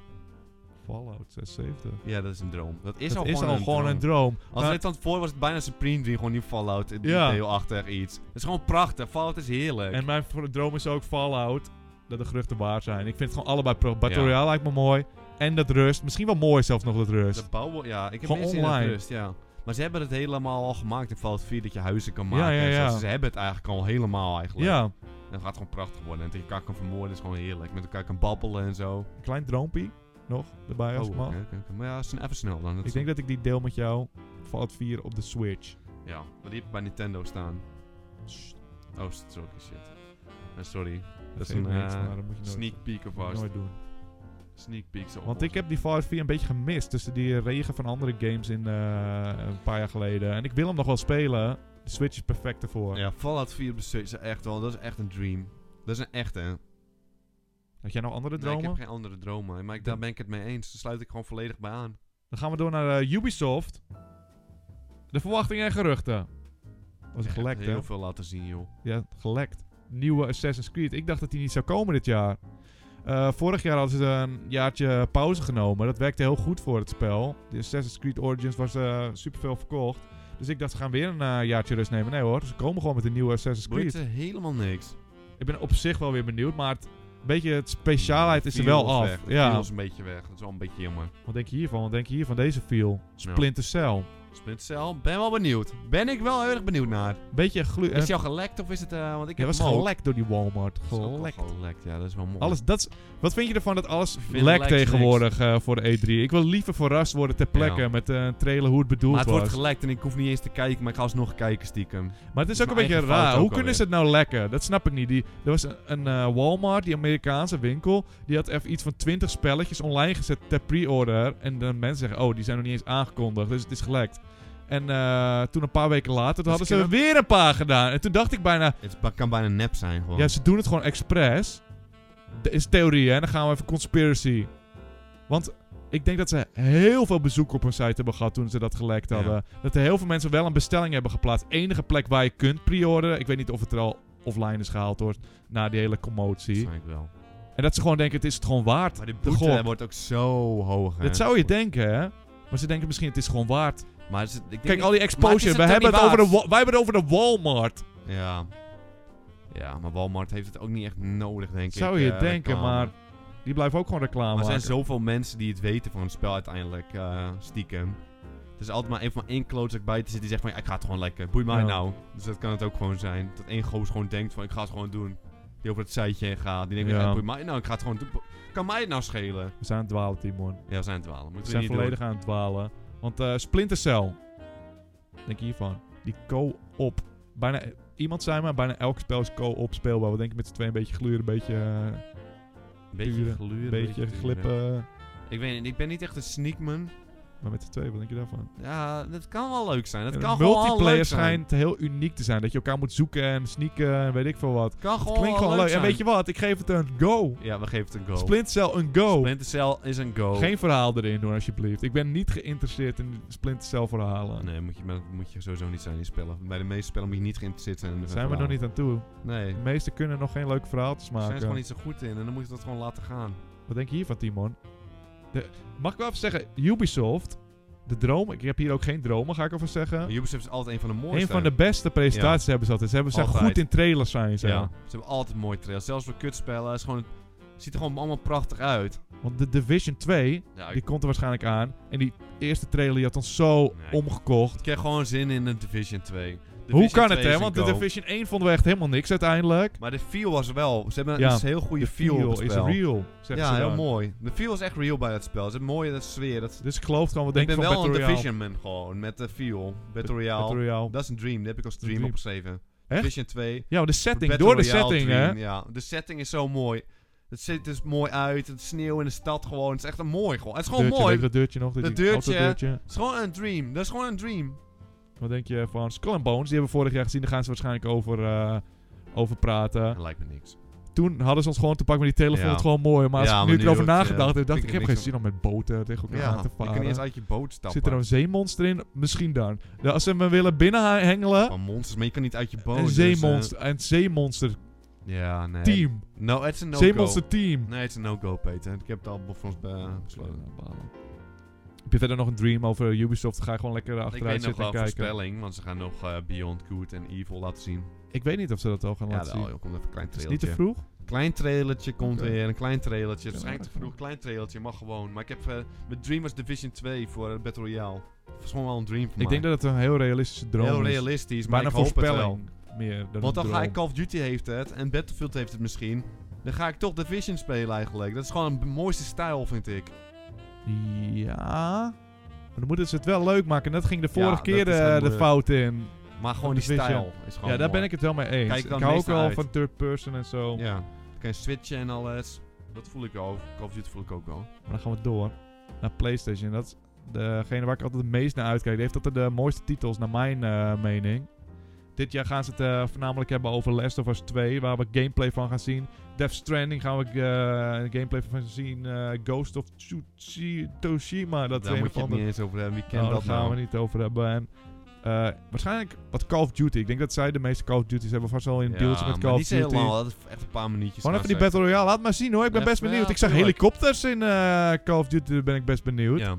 Speaker 2: Fallout 76.
Speaker 3: Ja, dat is een droom. Dat is
Speaker 2: dat
Speaker 3: al
Speaker 2: is
Speaker 3: gewoon
Speaker 2: al
Speaker 3: een
Speaker 2: gewoon
Speaker 3: droom.
Speaker 2: een droom.
Speaker 3: Als
Speaker 2: Maar-
Speaker 3: dit aan het voor was het bijna Supreme Dream, gewoon die Fallout, eh,
Speaker 2: Ja.
Speaker 3: detailachtig iets. Het is gewoon prachtig, Fallout is heerlijk.
Speaker 2: En mijn v- droom is ook Fallout. Dat de geruchten waar zijn. Ik vind het gewoon allebei pro. Battle
Speaker 3: Ja.
Speaker 2: Royale lijkt me mooi. En dat rust. Misschien wel mooi zelfs nog dat rust.
Speaker 3: de bouwen, ja, ik heb
Speaker 2: Gewoon
Speaker 3: mensen in dat
Speaker 2: online.
Speaker 3: rust, ja. Maar ze hebben het helemaal al gemaakt in Fallout 4, dat je huizen kan
Speaker 2: Ja,
Speaker 3: maken.
Speaker 2: ja,
Speaker 3: en zo.
Speaker 2: ja.
Speaker 3: Dus Ze hebben het eigenlijk al helemaal eigenlijk.
Speaker 2: Ja,
Speaker 3: En het gaat gewoon prachtig worden. En tegen elkaar kan vermoorden is gewoon heerlijk. Met elkaar kan babbelen en zo.
Speaker 2: een klein droompie nog erbij als ik
Speaker 3: oké,
Speaker 2: mag.
Speaker 3: oké, oké. Maar Oh, ja, is even snel dan.
Speaker 2: Ik denk dat ik die deel met jou Fallout 4 op de Switch.
Speaker 3: Ja, maar die heb ik bij Nintendo staan. Oh, sorry, shit. Eh, sorry. Dat is
Speaker 2: Geen
Speaker 3: een
Speaker 2: niks,
Speaker 3: eh,
Speaker 2: maar dat moet je nooit,
Speaker 3: sneak peek of
Speaker 2: moet je
Speaker 3: vast.
Speaker 2: nooit doen.
Speaker 3: sneak peeks op.
Speaker 2: Want ik heb die Far Cry een beetje gemist tussen die regen van andere games in eh, een paar jaar geleden. En ik wil hem nog wel spelen. De Switch is perfect ervoor.
Speaker 3: Ja, Fallout 4 op de Switch is echt wel... Dat is echt een dream. Dat is een echte, hè.
Speaker 2: Had jij nog andere
Speaker 3: Nee,
Speaker 2: dromen?
Speaker 3: ik heb geen andere dromen. Maar ik, daar ben ik het mee eens. Daar sluit ik gewoon volledig bij aan.
Speaker 2: Dan gaan we door naar eh, Ubisoft. De verwachtingen en geruchten. Was
Speaker 3: Echt
Speaker 2: gelekt, hè?
Speaker 3: Heel veel laten zien, joh.
Speaker 2: Ja, gelekt. Nieuwe Assassin's Creed. Ik dacht dat die niet zou komen dit jaar. Eh, vorig jaar hadden ze een jaartje pauze genomen. Dat werkte heel goed voor het spel. De Assassin's Creed Origins was eh superveel verkocht. Dus ik dacht, ze gaan weer een eh, jaartje rust nemen. Nee hoor, ze komen gewoon met een nieuwe Assassin's Creed.
Speaker 3: Boeit er helemaal niks.
Speaker 2: Ik ben op zich wel weer benieuwd, maar het, een beetje het speciaalheid is er wel af.
Speaker 3: Weg.
Speaker 2: ja.
Speaker 3: Ja. is een beetje weg. Dat is wel een beetje jammer.
Speaker 2: Wat denk je hiervan? Wat denk je hier van deze feel? Splinter Cell.
Speaker 3: Splinter Cell, ben wel benieuwd. Ben ik wel heel erg benieuwd naar.
Speaker 2: Beetje glu...
Speaker 3: Is die al gelekt of is het... eh, want ik
Speaker 2: Hij
Speaker 3: heb
Speaker 2: was
Speaker 3: hem ook.
Speaker 2: gelekt door die Walmart.
Speaker 3: Dat is ook al
Speaker 2: Gelekt.
Speaker 3: Gelekt, ja, dat is wel mooi.
Speaker 2: Alles, dat is- wat vind je ervan dat alles
Speaker 3: vind
Speaker 2: lekt
Speaker 3: lekt
Speaker 2: tegenwoordig eh, voor de E3? Ik wil liever verrast worden ter plekke
Speaker 3: Ja.
Speaker 2: met eh, een trailer hoe het bedoeld
Speaker 3: maar het
Speaker 2: was.
Speaker 3: wordt gelekt en ik hoef niet eens te kijken, maar ik ga alsnog kijken stiekem.
Speaker 2: maar het is
Speaker 3: het
Speaker 2: ook
Speaker 3: is
Speaker 2: een
Speaker 3: mijn
Speaker 2: beetje
Speaker 3: eigen fout
Speaker 2: raar.
Speaker 3: ook
Speaker 2: Hoe kunnen ze
Speaker 3: alweer.
Speaker 2: het nou lekken? Dat snap ik niet. Die, er was een, een, eh, Walmart, die Amerikaanse winkel, die had even iets van 20 spelletjes online gezet ter pre-order. En de mensen zeggen, oh, die zijn nog niet eens aangekondigd, dus het is gelekt. En eh, toen een paar weken later, toen
Speaker 3: Dus
Speaker 2: hadden ze er
Speaker 3: kunnen-
Speaker 2: weer een paar gedaan. En toen dacht ik bijna,
Speaker 3: Het ba- kan bijna nep zijn gewoon.
Speaker 2: Ja, ze doen het gewoon expres. Dat is theorie, hè? Dan gaan we even conspiracy. Want ik denk dat ze heel veel bezoek op hun site hebben gehad toen ze dat gelekt
Speaker 3: Ja.
Speaker 2: hadden. Dat er heel veel mensen wel een bestelling hebben geplaatst. Enige plek waar je kunt pre-orderen. Ik weet niet of het er al offline is gehaald hoor. Na die hele
Speaker 3: Dat
Speaker 2: commotie.
Speaker 3: snap ik wel.
Speaker 2: En dat ze gewoon denken, het is het gewoon waard.
Speaker 3: Maar die
Speaker 2: De
Speaker 3: boete
Speaker 2: gok.
Speaker 3: wordt ook zo hoog, hè.
Speaker 2: Dat zou je denken, hè? Maar ze denken misschien, het is gewoon waard.
Speaker 3: Maar is het- ik denk
Speaker 2: Kijk,
Speaker 3: niet-
Speaker 2: al die
Speaker 3: Maar het
Speaker 2: exposure.
Speaker 3: is
Speaker 2: We
Speaker 3: het
Speaker 2: hebben
Speaker 3: dan
Speaker 2: het
Speaker 3: niet
Speaker 2: over de,
Speaker 3: waard?
Speaker 2: wa- wij hebben het over de Walmart.
Speaker 3: Ja. Ja, maar Walmart heeft het ook niet echt nodig, denk ik.
Speaker 2: zou je
Speaker 3: eh,
Speaker 2: denken,
Speaker 3: reclame.
Speaker 2: maar die blijven ook gewoon reclame
Speaker 3: Maar er zijn
Speaker 2: maken.
Speaker 3: zoveel mensen die het weten van het spel uiteindelijk, eh, stiekem. Er is altijd maar even maar één klootzak bij te zitten die zegt van, ja, ik ga het gewoon lekker. Boeit mij
Speaker 2: Ja.
Speaker 3: nou. Dus dat kan het ook gewoon zijn. Dat één goos gewoon denkt van, ik ga het gewoon doen. Die over het zijtje heen gaat. Die denkt,
Speaker 2: Ja.
Speaker 3: ja. boeit mij nou, ik ga het gewoon doen. Kan mij het nou schelen?
Speaker 2: We zijn aan het dwalen, Timon.
Speaker 3: Ja, we zijn aan het dwalen.
Speaker 2: We
Speaker 3: Moeten we
Speaker 2: zijn
Speaker 3: niet
Speaker 2: volledig aan het dwalen. Want eh Splinter Cell. Denk je hiervan? Die co-op. Bijna, iemand zei maar, bijna elk spel is co-op speelbaar. Wat denk je met z'n tweeën? Een beetje gluren, een beetje, eh,
Speaker 3: doen. Beetje
Speaker 2: duren,
Speaker 3: gluren,
Speaker 2: een beetje
Speaker 3: duren.
Speaker 2: glippen.
Speaker 3: Ik weet niet, ik ben niet echt een sneakman.
Speaker 2: Maar met z'n tweeën, wat denk je daarvan?
Speaker 3: Ja, dat kan wel leuk zijn. Dat
Speaker 2: En
Speaker 3: kan
Speaker 2: een
Speaker 3: gewoon wel
Speaker 2: multiplayer
Speaker 3: leuk zijn.
Speaker 2: schijnt heel uniek te zijn. Dat je elkaar moet zoeken en sneaken en weet ik veel wat.
Speaker 3: kan
Speaker 2: Het
Speaker 3: gewoon
Speaker 2: klinkt
Speaker 3: wel
Speaker 2: gewoon leuk. En
Speaker 3: zijn.
Speaker 2: weet je wat? Ik geef het een go.
Speaker 3: Ja, we geven het een go.
Speaker 2: Splinter Cell een go.
Speaker 3: Splinter Cell is een go.
Speaker 2: Geen verhaal erin doen, alsjeblieft. Ik ben niet geïnteresseerd in Splinter Cell verhalen.
Speaker 3: Oh, Nee, moet je, maar dat moet je sowieso niet zijn in spellen. Bij de meeste spellen moet je niet geïnteresseerd zijn in de
Speaker 2: Zijn we nog
Speaker 3: verhalen.
Speaker 2: niet Ah, aan toe.
Speaker 3: Nee.
Speaker 2: De
Speaker 3: Daar
Speaker 2: meesten kunnen nog geen leuke verhaaltjes
Speaker 3: zijn
Speaker 2: maken.
Speaker 3: ze gewoon niet zo goed in en dan moet je dat gewoon laten gaan.
Speaker 2: Wat denk je hiervan, Timon? De- mag ik wel even zeggen, Ubisoft, de droom, ik heb hier ook geen dromen, ga ik over
Speaker 3: Maar
Speaker 2: zeggen.
Speaker 3: Ubisoft is altijd een van de mooiste.
Speaker 2: Een van de beste presentaties hebben ze altijd. Ze hebben ze zijn
Speaker 3: Altijd.
Speaker 2: goed in trailers zijn ze.
Speaker 3: Ja, ze hebben altijd mooie trails. Zelfs voor kutspellen. Het is gewoon, het ziet er gewoon allemaal prachtig uit.
Speaker 2: Want de Division 2,
Speaker 3: Ja,
Speaker 2: die
Speaker 3: ik,
Speaker 2: komt er waarschijnlijk aan. En die eerste trailer die had ons zo
Speaker 3: Nee.
Speaker 2: omgekocht.
Speaker 3: ik krijg gewoon zin in een Division 2.
Speaker 2: Hoe
Speaker 3: Division
Speaker 2: kan
Speaker 3: 2
Speaker 2: het,
Speaker 3: is
Speaker 2: hè?
Speaker 3: een
Speaker 2: Want
Speaker 3: go.
Speaker 2: de Division 1 vonden we echt helemaal niks uiteindelijk.
Speaker 3: Maar de feel was wel... Ze hebben
Speaker 2: Ja,
Speaker 3: een heel goede
Speaker 2: De
Speaker 3: feel, op het
Speaker 2: is
Speaker 3: spel.
Speaker 2: real, zeggen
Speaker 3: ja,
Speaker 2: ze
Speaker 3: heel
Speaker 2: dan.
Speaker 3: mooi. De feel is echt real bij dat spel. Ze hebben mooie dat sfeer. Dat,
Speaker 2: Dus ik geloof gewoon, wat
Speaker 3: ik
Speaker 2: denk je
Speaker 3: ben
Speaker 2: van
Speaker 3: wel een
Speaker 2: Battle Royale?
Speaker 3: Division man gewoon. Met de feel. Battle Royale.
Speaker 2: Battle Royale.
Speaker 3: Dat is een dream. Dat heb ik als
Speaker 2: een
Speaker 3: dream,
Speaker 2: dream.
Speaker 3: opgeschreven.
Speaker 2: Echt?
Speaker 3: Division 2.
Speaker 2: Ja, maar de setting,
Speaker 3: Battle
Speaker 2: door de
Speaker 3: Royale
Speaker 2: setting, hè?
Speaker 3: dream, Ja, de setting is zo mooi. Het ziet er mooi uit. Het sneeuw in de stad gewoon. Het is echt een mooi gewoon. Het is gewoon
Speaker 2: Deurtje,
Speaker 3: mooi.
Speaker 2: weet je
Speaker 3: Het
Speaker 2: Dat deurtje nog, dat
Speaker 3: Dat
Speaker 2: ding-
Speaker 3: deurtje.
Speaker 2: autodeurtje.
Speaker 3: is gewoon een dream. Dat is gewoon een dream.
Speaker 2: Wat denk je van Skull and Bones? Die hebben we vorig jaar gezien. Daar gaan ze waarschijnlijk over, eh, over praten.
Speaker 3: Dat lijkt me niks.
Speaker 2: Toen hadden ze ons gewoon te pakken met die telefoon.
Speaker 3: Ja.
Speaker 2: Het gewoon mooi. Maar als
Speaker 3: Ja,
Speaker 2: ik nu
Speaker 3: maar nu
Speaker 2: erover
Speaker 3: doet,
Speaker 2: nagedacht
Speaker 3: eh,
Speaker 2: heb, dacht
Speaker 3: vind
Speaker 2: ik, ik heb
Speaker 3: ik er
Speaker 2: geen
Speaker 3: niks
Speaker 2: zin om met boten tegen elkaar aan
Speaker 3: Ja,
Speaker 2: te
Speaker 3: je kunt niet eens
Speaker 2: varen.
Speaker 3: uit je boot stappen.
Speaker 2: Zit er een zeemonster in? Misschien dan. Ja, als ze me willen binnenhengelen.
Speaker 3: Van monsters, maar je kan niet uit je boot.
Speaker 2: Een
Speaker 3: dus,
Speaker 2: zeemonster. Een zeemonster
Speaker 3: eh, ja, nee.
Speaker 2: team.
Speaker 3: No, het is een no-go.
Speaker 2: zeemonster team.
Speaker 3: Nee, het is een no-go, Peter. Ik heb het al voor ons eh, besloten.
Speaker 2: Heb je verder nog een dream over Ubisoft? Dan ga je gewoon lekker
Speaker 3: Ik
Speaker 2: achteruit
Speaker 3: weet nog
Speaker 2: zitten
Speaker 3: wel
Speaker 2: en kijken.
Speaker 3: voorspelling, want ze gaan nog eh, Beyond Good en Evil laten zien.
Speaker 2: Ik weet niet of ze dat al gaan
Speaker 3: ja,
Speaker 2: laten
Speaker 3: wel,
Speaker 2: zien.
Speaker 3: joh, komt even een klein
Speaker 2: Het is niet te
Speaker 3: trailertje.
Speaker 2: vroeg.
Speaker 3: Klein trailertje komt
Speaker 2: Oké.
Speaker 3: weer, een klein trailertje.
Speaker 2: Ja,
Speaker 3: Het is eigenlijk
Speaker 2: dat
Speaker 3: te vroeg, klein trailertje, mag gewoon. Maar ik heb, eh, mijn dream was Division 2 voor eh, Battle Royale. Dat is gewoon wel een dream voor
Speaker 2: Ik denk dat het een heel realistische droom
Speaker 3: Heel
Speaker 2: is.
Speaker 3: realistisch, maar
Speaker 2: Bijna
Speaker 3: ik hoop het wel.
Speaker 2: voorspelling. Meer dan
Speaker 3: Want dan
Speaker 2: een
Speaker 3: ga ik
Speaker 2: droom.
Speaker 3: Call of Duty heeft het en Battlefield heeft het misschien. Dan ga ik toch Division spelen eigenlijk. Dat is gewoon de mooiste stijl, vind ik.
Speaker 2: Ja. Maar dan moeten ze het wel leuk maken. En dat ging de
Speaker 3: Ja,
Speaker 2: vorige
Speaker 3: dat
Speaker 2: keer
Speaker 3: is
Speaker 2: eh,
Speaker 3: heel
Speaker 2: de
Speaker 3: moeilijk.
Speaker 2: fout in.
Speaker 3: Maar gewoon die
Speaker 2: Division.
Speaker 3: stijl is
Speaker 2: Ja,
Speaker 3: gewoon
Speaker 2: daar ben ik het wel mee eens.
Speaker 3: Kijk
Speaker 2: ik
Speaker 3: dan
Speaker 2: hou ook
Speaker 3: meestal
Speaker 2: wel
Speaker 3: uit.
Speaker 2: van third person en zo.
Speaker 3: Ja, dan kan je switchen en alles. Dat voel ik wel. Over Call of Duty voel ik ook wel.
Speaker 2: Maar dan gaan we door naar PlayStation. Dat is degene waar ik altijd het meest naar uitkijk. Die heeft altijd de mooiste titels, naar mijn eh, mening. Dit jaar gaan ze het eh, voornamelijk hebben over Last of Us 2, waar we gameplay van gaan zien. Death Stranding gaan we eh, gameplay van zien. Eh, Ghost of Tsushi- Tsushima, dat is
Speaker 3: Daar
Speaker 2: een
Speaker 3: moet
Speaker 2: of
Speaker 3: je het
Speaker 2: andere
Speaker 3: niet eens over hebben. Wie kent
Speaker 2: nou, daar
Speaker 3: dat
Speaker 2: gaan
Speaker 3: nou?
Speaker 2: we niet over hebben. En, eh, waarschijnlijk wat Call of Duty. Ik denk dat zij de meeste Call of Duty's hebben. Vast wel in
Speaker 3: Ja,
Speaker 2: deals met
Speaker 3: maar
Speaker 2: Call
Speaker 3: die
Speaker 2: of
Speaker 3: zijn
Speaker 2: Duty.
Speaker 3: heel lang, dat is echt een paar minuutjes.
Speaker 2: Gewoon even die
Speaker 3: gaan ze
Speaker 2: Battle Royale. Laat maar zien hoor. Ik ben
Speaker 3: Ja,
Speaker 2: best
Speaker 3: ja,
Speaker 2: benieuwd. ik zag
Speaker 3: tuurlijk.
Speaker 2: helikopters in eh, Call of Duty. Daar ben ik best benieuwd.
Speaker 3: Ja.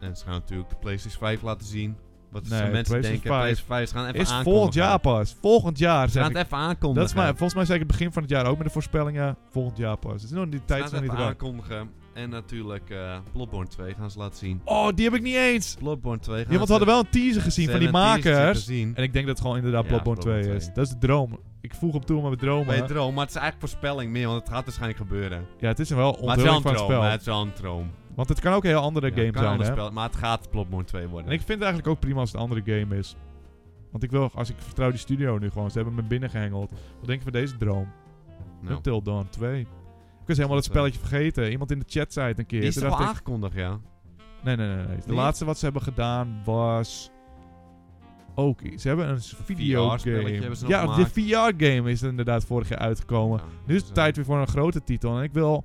Speaker 3: En ze gaan natuurlijk de PlayStation 5 laten zien. Wat
Speaker 2: Nee,
Speaker 3: zijn mensen
Speaker 2: PlayStation
Speaker 3: denken,
Speaker 2: 5.
Speaker 3: PlayStation 5, ze gaan even
Speaker 2: Is
Speaker 3: aankondigen.
Speaker 2: volgend jaar pas. Volgend jaar
Speaker 3: Ze
Speaker 2: zeg
Speaker 3: gaan
Speaker 2: ik.
Speaker 3: het even aankondigen.
Speaker 2: Dat is maar, volgens mij zeker begin van het jaar ook met de voorspellingen. Volgend jaar pas. Het is nog die
Speaker 3: Ze
Speaker 2: tijd
Speaker 3: gaan
Speaker 2: is
Speaker 3: het
Speaker 2: nog
Speaker 3: even
Speaker 2: niet raar.
Speaker 3: aankondigen. En natuurlijk eh Bloodborne 2 gaan ze laten zien.
Speaker 2: Oh, die heb ik niet eens.
Speaker 3: Bloodborne 2 gaan
Speaker 2: Ja, want we
Speaker 3: ze
Speaker 2: hadden wel een teaser
Speaker 3: ze
Speaker 2: gezien van die
Speaker 3: hebben een teasertje
Speaker 2: makers.
Speaker 3: gezien.
Speaker 2: En ik denk dat het gewoon inderdaad
Speaker 3: Ja,
Speaker 2: Bloodborne 2
Speaker 3: Bloodborne
Speaker 2: is.
Speaker 3: 2.
Speaker 2: Dat is de droom. Ik voeg hem toe, maar we dromen.
Speaker 3: Bij je droom, maar het is eigenlijk voorspelling meer, want het gaat waarschijnlijk gebeuren.
Speaker 2: Ja, het is een wel
Speaker 3: Maar het is wel
Speaker 2: onthulling
Speaker 3: een
Speaker 2: van het
Speaker 3: droom,
Speaker 2: spel.
Speaker 3: maar het is wel een droom.
Speaker 2: Want het kan ook een heel andere
Speaker 3: Ja,
Speaker 2: game
Speaker 3: het kan
Speaker 2: zijn,
Speaker 3: een
Speaker 2: hè?
Speaker 3: ander spel, maar het gaat Bloodborne 2 worden.
Speaker 2: En ik vind het eigenlijk ook prima als het een andere game is. Want ik wil, als ik vertrouw die studio nu gewoon, ze hebben me binnengehengeld. Wat denk je van deze droom?
Speaker 3: Nou,
Speaker 2: Until Dawn 2. Ik was helemaal dat spelletje vergeten. Iemand in de chat zei het een keer.
Speaker 3: die is
Speaker 2: Toen
Speaker 3: toch wel
Speaker 2: dacht ik-
Speaker 3: aangekondigd, ja?
Speaker 2: nee, nee, nee, nee. De
Speaker 3: Nee?
Speaker 2: laatste wat ze hebben gedaan was... Ook, iets. ze hebben een
Speaker 3: spelletje
Speaker 2: videogame.
Speaker 3: hebben ze nog
Speaker 2: Ja, de
Speaker 3: gemaakt.
Speaker 2: VR-game is er inderdaad vorig jaar uitgekomen.
Speaker 3: Ja,
Speaker 2: Nu is het
Speaker 3: dus,
Speaker 2: tijd
Speaker 3: eh,
Speaker 2: weer voor een grote titel. En ik wil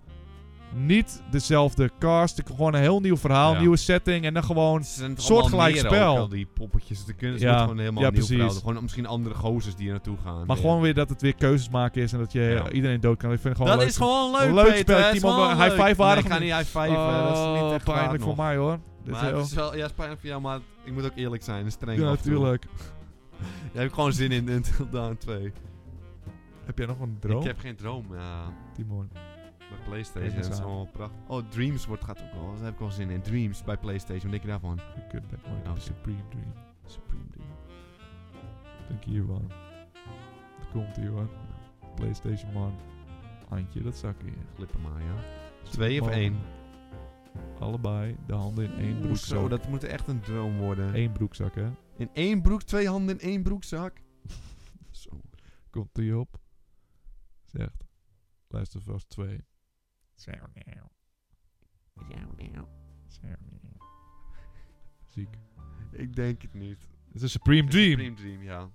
Speaker 2: niet dezelfde cast. Ik wil gewoon een heel nieuw verhaal,
Speaker 3: Ja.
Speaker 2: nieuwe setting. En dan gewoon.
Speaker 3: Ze zijn toch
Speaker 2: soortgelijk
Speaker 3: allemaal meer
Speaker 2: spel.
Speaker 3: ook al die poppetjes te kunnen. Ze
Speaker 2: Ja,
Speaker 3: moeten gewoon helemaal
Speaker 2: ja,
Speaker 3: nieuw
Speaker 2: precies.
Speaker 3: verhaal doen. Gewoon misschien andere gozers die er naartoe gaan.
Speaker 2: Maar
Speaker 3: Ja.
Speaker 2: gewoon weer dat het weer keuzes maken is en dat je
Speaker 3: Ja.
Speaker 2: iedereen dood kan. Ik vind het
Speaker 3: Dat
Speaker 2: gewoon leuk.
Speaker 3: is gewoon leuk,
Speaker 2: Een leuk
Speaker 3: Peter.
Speaker 2: spel.
Speaker 3: Het is
Speaker 2: Timo,
Speaker 3: gewoon
Speaker 2: high
Speaker 3: leuk.
Speaker 2: five waardig.
Speaker 3: Nee, ik ga niet high five.
Speaker 2: Oh,
Speaker 3: eh, dat is niet echt
Speaker 2: pijnlijk voor
Speaker 3: mij.
Speaker 2: mij hoor. Dit is
Speaker 3: Maar het
Speaker 2: heel-
Speaker 3: is wel, ja, is pijnlijk voor jou, maar ik moet ook eerlijk zijn. Het is streng.
Speaker 2: ja,
Speaker 3: af en toe.
Speaker 2: natuurlijk.
Speaker 3: Jij hebt gewoon zin in Until Dawn 2.
Speaker 2: Heb jij nog een droom,
Speaker 3: Ik heb geen droom, ja.
Speaker 2: Timon?
Speaker 3: Bij PlayStation.
Speaker 2: Even
Speaker 3: Dat is
Speaker 2: samen.
Speaker 3: gewoon prachtig. Oh, Dreams wordt, gaat ook wel. Daar heb ik wel zin in. Dreams bij PlayStation. Wat denk je daarvan?
Speaker 2: Ik heb het
Speaker 3: Ja, oké.
Speaker 2: Supreme Dream.
Speaker 3: Supreme Dream.
Speaker 2: Denk hier man. Dat komt hier man. PlayStation man. Handje, dat zakje.
Speaker 3: Glippen maar, ja. Twee of
Speaker 2: Man.
Speaker 3: één?
Speaker 2: Allebei de handen in één
Speaker 3: Oeh, Zo,
Speaker 2: broekzak.
Speaker 3: dat moet echt een droom worden.
Speaker 2: Eén broekzak hè.
Speaker 3: In één broek, twee handen in één broekzak. Zo.
Speaker 2: Komt hij op. Zegt. Luister vast twee. Zo nou. Zo nou. Ziek.
Speaker 3: Ik denk het niet.
Speaker 2: Het is een Supreme Dream.
Speaker 3: Supreme Dream, ja.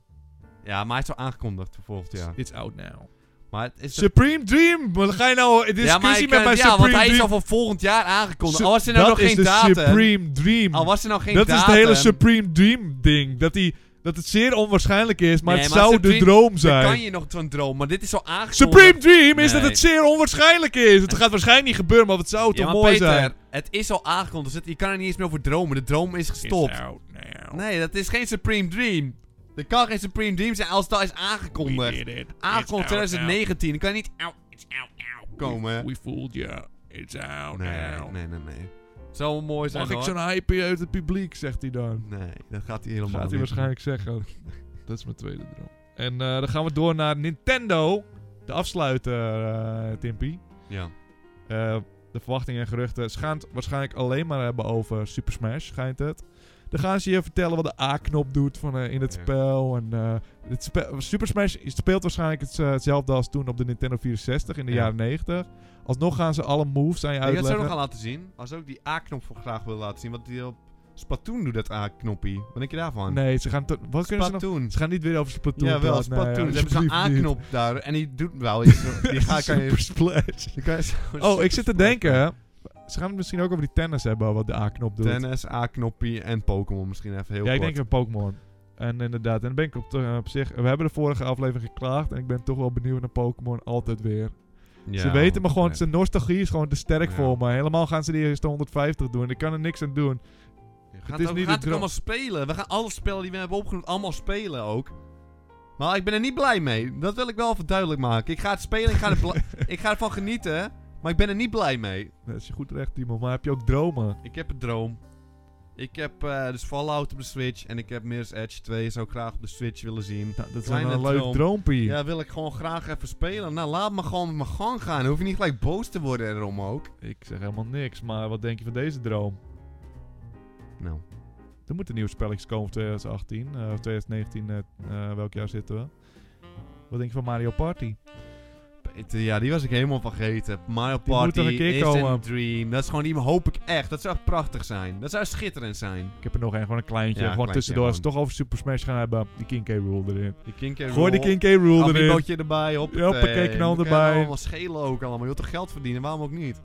Speaker 3: Ja, maar hij is wel aangekondigd voor volgend jaar.
Speaker 2: It's out now.
Speaker 3: Maar het is
Speaker 2: Supreme Dream! Wat ga je nou in
Speaker 3: ja, maar
Speaker 2: discussie
Speaker 3: hij
Speaker 2: met
Speaker 3: kan-
Speaker 2: mijn
Speaker 3: ja,
Speaker 2: Supreme
Speaker 3: want hij is
Speaker 2: Dream?
Speaker 3: al voor volgend jaar aangekondigd.
Speaker 2: Su-
Speaker 3: al was er nou
Speaker 2: dat
Speaker 3: nog
Speaker 2: is
Speaker 3: geen
Speaker 2: de
Speaker 3: datum.
Speaker 2: Supreme Dream.
Speaker 3: Al was er nou geen
Speaker 2: dat is
Speaker 3: datum.
Speaker 2: het hele Supreme Dream ding. Dat, die, dat het zeer onwaarschijnlijk is, maar
Speaker 3: Nee,
Speaker 2: het
Speaker 3: maar
Speaker 2: zou de
Speaker 3: Supreme-
Speaker 2: droom
Speaker 3: Dan kan
Speaker 2: zijn.
Speaker 3: je nog van dromen, maar dit is al aangekondigd.
Speaker 2: Supreme Dream is dat
Speaker 3: Nee.
Speaker 2: het zeer onwaarschijnlijk is. Het gaat waarschijnlijk niet gebeuren, maar het zou
Speaker 3: ja,
Speaker 2: toch
Speaker 3: maar
Speaker 2: mooi
Speaker 3: Peter,
Speaker 2: zijn.
Speaker 3: het is al aangekondigd. Dus het- je kan er niet eens meer over dromen. De droom is
Speaker 2: It's
Speaker 3: gestopt.
Speaker 2: out now.
Speaker 3: Nee, dat is geen Supreme Dream. Er kan geen Supreme Dream zijn als dat is
Speaker 2: We
Speaker 3: aangekondigd.
Speaker 2: did it. It's
Speaker 3: Aangekondigd
Speaker 2: out now.
Speaker 3: 2019. Dan kan je niet out, it's out, out komen.
Speaker 2: We fooled you. It's out
Speaker 3: Nee,
Speaker 2: now.
Speaker 3: nee, nee, nee. Het zou wel mooi zijn
Speaker 2: Mag ik
Speaker 3: hoor.
Speaker 2: zo'n hype uit het publiek, zegt hij dan.
Speaker 3: Nee, dat gaat hij
Speaker 2: gaat
Speaker 3: helemaal
Speaker 2: hij
Speaker 3: niet.
Speaker 2: waarschijnlijk zeggen. Dat is mijn tweede droom. En eh, dan gaan we door naar Nintendo. De afsluiter, eh Timpy.
Speaker 3: Ja.
Speaker 2: Eh, de verwachtingen en geruchten. Ze gaan het waarschijnlijk alleen maar hebben over Super Smash, schijnt het. Dan gaan ze je vertellen wat de A-knop doet van, eh, in het
Speaker 3: Ja.
Speaker 2: spel. En, eh, het spe- Super Smash speelt waarschijnlijk het, eh, hetzelfde als toen op de Nintendo 64 in de
Speaker 3: Ja.
Speaker 2: jaren 90. Alsnog gaan ze alle moves aan je
Speaker 3: Ik dat ze ook nog
Speaker 2: uitleggen.
Speaker 3: gaan laten zien. Als ze ook die A-knop voor graag willen laten zien. Want die op Splatoon doet dat A-knoppie. Wat denk je daarvan?
Speaker 2: Nee, ze gaan... to- Wat kunnen ze nog...
Speaker 3: Splatoon.
Speaker 2: Ze gaan niet weer over Splatoon
Speaker 3: Ja, wel,
Speaker 2: praten. Nee,
Speaker 3: Splatoon. Ze hebben zo'n
Speaker 2: alsjeblieft niet.
Speaker 3: A-knop daar. En die doet wel iets. Die ga kan je...
Speaker 2: Super Splash.
Speaker 3: die kan je zo-
Speaker 2: Oh, ik zit te denken. Ze gaan het misschien ook over die tennis hebben, wat de A-knop doet.
Speaker 3: Tennis, A-knoppie en Pokémon misschien even heel
Speaker 2: ja, ik
Speaker 3: kort.
Speaker 2: denk een Pokémon. En inderdaad, en dan ben ik op, te- op zich... We hebben de vorige aflevering geklaagd en ik ben toch wel benieuwd naar Pokémon altijd weer.
Speaker 3: Ja,
Speaker 2: ze weten me gewoon,
Speaker 3: nee.
Speaker 2: zijn nostalgie is gewoon te sterk
Speaker 3: Ja.
Speaker 2: voor me. Helemaal gaan ze die eerste 150 doen. Ik kan er niks aan doen.
Speaker 3: We gaan
Speaker 2: is
Speaker 3: het ook,
Speaker 2: niet
Speaker 3: we
Speaker 2: de
Speaker 3: gaan het ook
Speaker 2: droom.
Speaker 3: allemaal spelen. We gaan alle spellen die we hebben opgenoemd allemaal spelen ook. Maar ik ben er niet blij mee. Dat wil ik wel even duidelijk maken. Ik ga het spelen, ik ga, er bla- ik ga ervan genieten. Maar ik ben er niet blij mee.
Speaker 2: Dat is je goed recht, Timo. Maar heb je ook dromen?
Speaker 3: Ik heb een droom. Ik heb eh, dus Fallout op de Switch. En ik heb Mirror's Edge 2. Zou ik graag op de Switch willen zien.
Speaker 2: Nou, dat is wel
Speaker 3: Kleine
Speaker 2: een leuk
Speaker 3: droom.
Speaker 2: droompie.
Speaker 3: Ja, wil ik gewoon graag even spelen. Nou, laat me gewoon met mijn gang gaan. Dan hoef je niet gelijk boos te worden erom ook.
Speaker 2: Ik zeg helemaal niks, maar wat denk je van deze droom?
Speaker 3: Nou,
Speaker 2: Er moeten nieuwe spelletjes komen voor 2018. eh, of 2019, eh, eh, welk jaar zitten we? Wat denk je van Mario Party?
Speaker 3: Het, eh, ja, die was ik helemaal vergeten. Mario
Speaker 2: Die moet
Speaker 3: Party,
Speaker 2: nog een keer
Speaker 3: Instant
Speaker 2: komen.
Speaker 3: Dream. Dat is gewoon, die hoop ik echt. Dat zou echt prachtig zijn. Dat zou schitterend zijn.
Speaker 2: Ik heb er nog één, gewoon een kleintje.
Speaker 3: Ja,
Speaker 2: gewoon
Speaker 3: kleintje,
Speaker 2: tussendoor, als we
Speaker 3: man.
Speaker 2: het toch over Super Smash gaan hebben, die King K. Rule erin.
Speaker 3: Die King K.
Speaker 2: Gooi die King K. Rule erin.
Speaker 3: Amiibootje erbij, hoppatee.
Speaker 2: Hoppakee, knal
Speaker 3: Dan kan je
Speaker 2: erbij.
Speaker 3: allemaal schelen ook allemaal. Je wilt toch geld verdienen, waarom ook niet?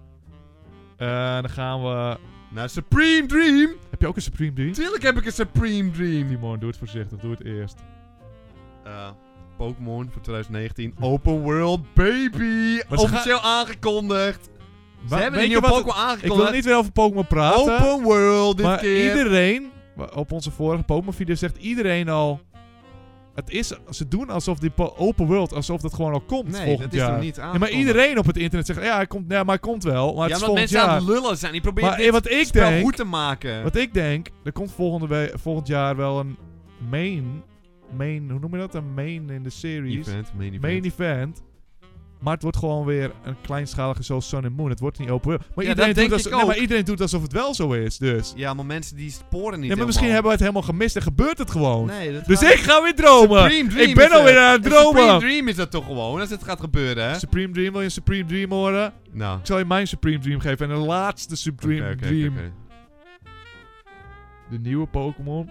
Speaker 2: Eh, dan gaan we...
Speaker 3: Nou, Supreme Dream!
Speaker 2: Heb je ook een Supreme Dream?
Speaker 3: Tuurlijk heb ik een Supreme Dream!
Speaker 2: Timon, doe het voorzichtig. Doe het eerst.
Speaker 3: Eh, Pokémon voor 2019. Open World Baby!
Speaker 2: gaan-
Speaker 3: Officieel aangekondigd! Ze
Speaker 2: Maar
Speaker 3: hebben een
Speaker 2: weet je
Speaker 3: nieuwe
Speaker 2: wat- Ik
Speaker 3: Pokémon
Speaker 2: wil
Speaker 3: aangekondigd.
Speaker 2: niet weer over Pokémon praten.
Speaker 3: Open World dit
Speaker 2: maar
Speaker 3: keer.
Speaker 2: iedereen, wa- op onze vorige Pokémon-video zegt iedereen al... Het is, ze doen alsof die po- open world, alsof dat gewoon al komt
Speaker 3: Nee,
Speaker 2: volgend
Speaker 3: dat is
Speaker 2: jaar.
Speaker 3: nog niet
Speaker 2: Ja, maar
Speaker 3: aangekondigd.
Speaker 2: iedereen op het internet zegt, ja, hij komt, ja maar hij komt wel, maar
Speaker 3: ja,
Speaker 2: het is
Speaker 3: omdat
Speaker 2: volgend
Speaker 3: mensen
Speaker 2: jaar.
Speaker 3: aan het lullen zijn. Die proberen
Speaker 2: Maar
Speaker 3: dit
Speaker 2: eh, wat ik
Speaker 3: spel
Speaker 2: denk,
Speaker 3: goed te maken.
Speaker 2: wat ik denk, er komt volgende we- volgend jaar wel een main, main, hoe noem je dat? Een main in de series.
Speaker 3: event, main event.
Speaker 2: Main event. Maar het wordt gewoon weer een kleinschalige zoals Sun and Moon. Het wordt niet open world. Maar,
Speaker 3: Ja,
Speaker 2: iedereen,
Speaker 3: dat
Speaker 2: doet
Speaker 3: denk
Speaker 2: alsof,
Speaker 3: ik
Speaker 2: nee, maar
Speaker 3: ook.
Speaker 2: iedereen doet alsof het wel zo is, dus.
Speaker 3: Ja, maar mensen die sporen niet
Speaker 2: Ja, maar misschien
Speaker 3: helemaal.
Speaker 2: hebben we het helemaal gemist en gebeurt het gewoon.
Speaker 3: Nee, dat
Speaker 2: Dus
Speaker 3: gaat-
Speaker 2: ik ga weer dromen.
Speaker 3: Supreme Dream
Speaker 2: ik ben
Speaker 3: is het.
Speaker 2: alweer aan het
Speaker 3: Een
Speaker 2: dromen.
Speaker 3: Supreme Dream is dat toch gewoon, als het gaat gebeuren, hè?
Speaker 2: Supreme Dream, wil je een Supreme Dream horen?
Speaker 3: Nou,
Speaker 2: Ik zal je mijn Supreme Dream geven en een laatste Supreme
Speaker 3: oké, oké,
Speaker 2: Dream.
Speaker 3: oké.
Speaker 2: De nieuwe Pokémon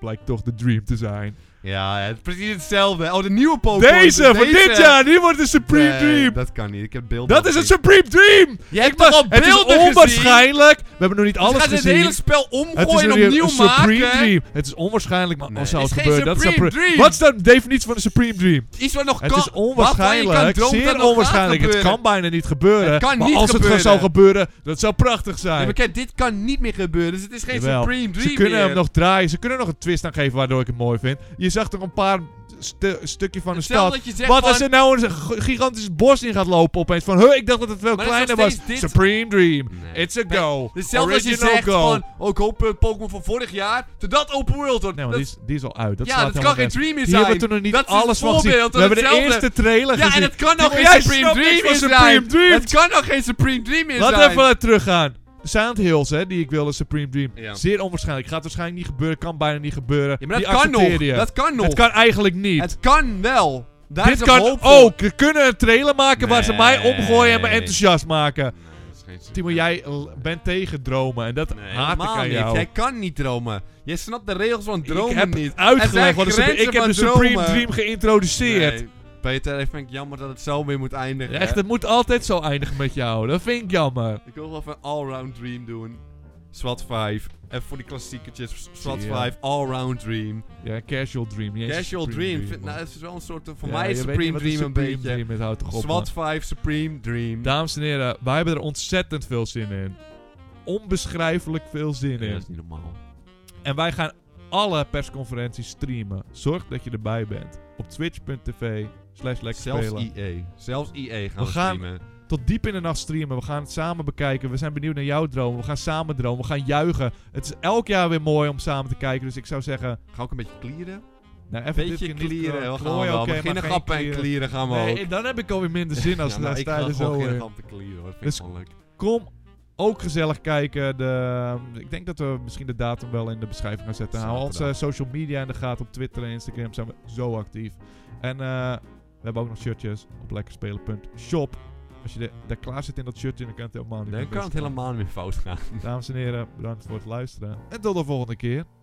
Speaker 2: blijkt toch de Dream te zijn.
Speaker 3: Ja, het is precies hetzelfde. Oh, de nieuwe Pokémon.
Speaker 2: Deze,
Speaker 3: dus
Speaker 2: van dit jaar, die wordt de Supreme
Speaker 3: Nee,
Speaker 2: Dream. Dat,
Speaker 3: Dat kan niet, ik heb beelden.
Speaker 2: is een
Speaker 3: gezien.
Speaker 2: Supreme Dream.
Speaker 3: Jij hebt
Speaker 2: Maar
Speaker 3: toch al
Speaker 2: het is
Speaker 3: beelden gezien?
Speaker 2: onwaarschijnlijk. We hebben nog niet
Speaker 3: Ze
Speaker 2: alles
Speaker 3: gaan het
Speaker 2: gezien.
Speaker 3: hele spel
Speaker 2: het is
Speaker 3: omgooien en
Speaker 2: nu
Speaker 3: opnieuw
Speaker 2: een Supreme
Speaker 3: maken.
Speaker 2: Dream. Het is onwaarschijnlijk, maar
Speaker 3: Nee,
Speaker 2: als zou
Speaker 3: het
Speaker 2: het
Speaker 3: is geen
Speaker 2: gebeuren, dat zou...
Speaker 3: Supreme
Speaker 2: pre-
Speaker 3: Dream.
Speaker 2: Wat is dan de definitie van een Supreme Dream?
Speaker 3: Iets wat nog
Speaker 2: Het
Speaker 3: kan...
Speaker 2: is onwaarschijnlijk,
Speaker 3: waarvan je kan dromen
Speaker 2: zeer
Speaker 3: dat het nog gaat
Speaker 2: onwaarschijnlijk. Het
Speaker 3: gebeuren.
Speaker 2: kan bijna niet gebeuren.
Speaker 3: Het kan
Speaker 2: maar
Speaker 3: niet
Speaker 2: als het
Speaker 3: gebeuren.
Speaker 2: zou gebeuren, dat zou prachtig zijn.
Speaker 3: Nee, maar kijk, dit kan niet meer gebeuren, dus het is geen
Speaker 2: Jawel.
Speaker 3: Supreme Dream
Speaker 2: Ze kunnen
Speaker 3: meer.
Speaker 2: hem nog draaien. Ze kunnen nog een twist aan geven waardoor ik het mooi vind. Je zag toch een paar stu- stukje van de
Speaker 3: Dus Stel
Speaker 2: stad.
Speaker 3: dat je zegt
Speaker 2: Wat
Speaker 3: van-
Speaker 2: als er nou een g- gigantisch bos in gaat lopen opeens? Van, huh, ik dacht dat het veel
Speaker 3: Maar dat is
Speaker 2: kleiner
Speaker 3: nog
Speaker 2: was.
Speaker 3: steeds dit.
Speaker 2: Supreme Dream.
Speaker 3: Nee.
Speaker 2: It's a go.
Speaker 3: Hetzelfde als dus
Speaker 2: Original
Speaker 3: je zegt
Speaker 2: go.
Speaker 3: van, oh, ik hoop eh, Pokémon van vorig jaar, dat dat open world wordt.
Speaker 2: Nee, want
Speaker 3: Dat-
Speaker 2: die is, die is al uit. Dat
Speaker 3: ja,
Speaker 2: slaat
Speaker 3: dat kan
Speaker 2: helemaal nergens.
Speaker 3: geen Dream meer
Speaker 2: Hier
Speaker 3: zijn.
Speaker 2: hebben we toen nog niet
Speaker 3: dat is
Speaker 2: alles
Speaker 3: een
Speaker 2: van gezien. We
Speaker 3: voorbeeld van
Speaker 2: hebben de
Speaker 3: hetzelfde.
Speaker 2: eerste trailer
Speaker 3: Ja,
Speaker 2: gezien.
Speaker 3: en het kan nog
Speaker 2: Jij
Speaker 3: geen
Speaker 2: snapt
Speaker 3: Supreme
Speaker 2: niks
Speaker 3: Dream
Speaker 2: van
Speaker 3: meer
Speaker 2: Supreme
Speaker 3: zijn.
Speaker 2: Dream.
Speaker 3: Het kan nog geen Supreme Dream meer
Speaker 2: Laat
Speaker 3: zijn.
Speaker 2: even teruggaan. De Silent Hills, hè, die ik wilde, Supreme Dream.
Speaker 3: Ja.
Speaker 2: Zeer onwaarschijnlijk. Gaat waarschijnlijk niet gebeuren, kan bijna niet gebeuren.
Speaker 3: Ja, maar dat
Speaker 2: die
Speaker 3: kan nog.
Speaker 2: accepteer je.
Speaker 3: Dat kan nog.
Speaker 2: Het kan eigenlijk niet.
Speaker 3: Het kan wel. Daar is
Speaker 2: Dit
Speaker 3: er
Speaker 2: kan
Speaker 3: hoop voor.
Speaker 2: ook. We kunnen een trailer maken waar ze mij
Speaker 3: Nee.
Speaker 2: omgooien en me enthousiast maken.
Speaker 3: Nee, dat is geen Supreme
Speaker 2: Timo, jij l- bent tegen dromen en dat
Speaker 3: Nee,
Speaker 2: haat ik
Speaker 3: helemaal
Speaker 2: aan
Speaker 3: niet.
Speaker 2: jou.
Speaker 3: Jij kan niet dromen. Jij snapt de regels van dromen
Speaker 2: ik heb
Speaker 3: niet. Er zijn
Speaker 2: uitgelegd wat de Supre-
Speaker 3: grenzen
Speaker 2: Ik heb
Speaker 3: van
Speaker 2: de Supreme
Speaker 3: dromen.
Speaker 2: Dream geïntroduceerd.
Speaker 3: Nee, Peter, ik vind het jammer dat het zo weer moet eindigen.
Speaker 2: Echt, het moet altijd zo eindigen met jou. Dat vind ik jammer.
Speaker 3: Ik wil wel even een allround dream doen. SWAT 5. Even voor die klassiekertjes. SWAT
Speaker 2: Ja.
Speaker 3: 5, allround dream.
Speaker 2: Ja, Casual Dream. niet eens een
Speaker 3: Casual
Speaker 2: Supreme
Speaker 3: dream.
Speaker 2: man.
Speaker 3: Vind- nou, het is wel een soort... Voor
Speaker 2: Ja,
Speaker 3: mij is
Speaker 2: je weet niet
Speaker 3: Supreme
Speaker 2: wat een
Speaker 3: Dream een
Speaker 2: Supreme
Speaker 3: beetje.
Speaker 2: Dream is, houd toch op, man.
Speaker 3: SWAT 5, Supreme Dream.
Speaker 2: Dames en heren, wij hebben er ontzettend veel zin in. Onbeschrijfelijk veel zin
Speaker 3: Ja,
Speaker 2: in.
Speaker 3: dat is niet normaal.
Speaker 2: En wij gaan alle persconferenties streamen. Zorg dat je erbij bent. Op twitch.tv slash lekker
Speaker 3: Zelfs
Speaker 2: spelen.
Speaker 3: EA. Zelfs EA gaan
Speaker 2: We
Speaker 3: we,
Speaker 2: gaan-
Speaker 3: streamen.
Speaker 2: Tot diep in de nacht streamen. We gaan het samen bekijken. We zijn benieuwd naar jouw droom. We gaan samen dromen. We gaan juichen. Het is elk jaar weer mooi om samen te kijken. Dus ik zou zeggen...
Speaker 3: Gaan we ook een beetje clearen?
Speaker 2: Nou,
Speaker 3: Een
Speaker 2: even dit keer
Speaker 3: beetje
Speaker 2: niet
Speaker 3: clearen.
Speaker 2: klo-
Speaker 3: We gaan
Speaker 2: klooien,
Speaker 3: wel.
Speaker 2: oké, maar
Speaker 3: Beginnen
Speaker 2: geen
Speaker 3: grappen en
Speaker 2: clearen.
Speaker 3: clearen gaan we ook.
Speaker 2: Nee, dan heb ik alweer minder zin als
Speaker 3: Ja,
Speaker 2: we
Speaker 3: maar
Speaker 2: daar
Speaker 3: ik
Speaker 2: staan.
Speaker 3: ga
Speaker 2: er
Speaker 3: gewoon
Speaker 2: Zo
Speaker 3: geen
Speaker 2: in.
Speaker 3: grappen clearen hoor. Vind
Speaker 2: Dus-
Speaker 3: ik wel leuk.
Speaker 2: Kom ook gezellig kijken. De, ik denk dat we misschien de datum wel in de beschrijving gaan zetten. Hou
Speaker 3: Zaterdag.
Speaker 2: onze social media in de gaten. Op Twitter en Instagram zijn we zo actief. En eh, we hebben ook nog shirtjes op lekkerspelen.shop. Als je de- daar klaar zit in dat shirtje, dan kan het helemaal niet
Speaker 3: Dan
Speaker 2: meer
Speaker 3: kan het
Speaker 2: misgaan.
Speaker 3: helemaal niet meer fout gaan.
Speaker 2: Dames en heren, bedankt voor het luisteren. En tot de volgende keer.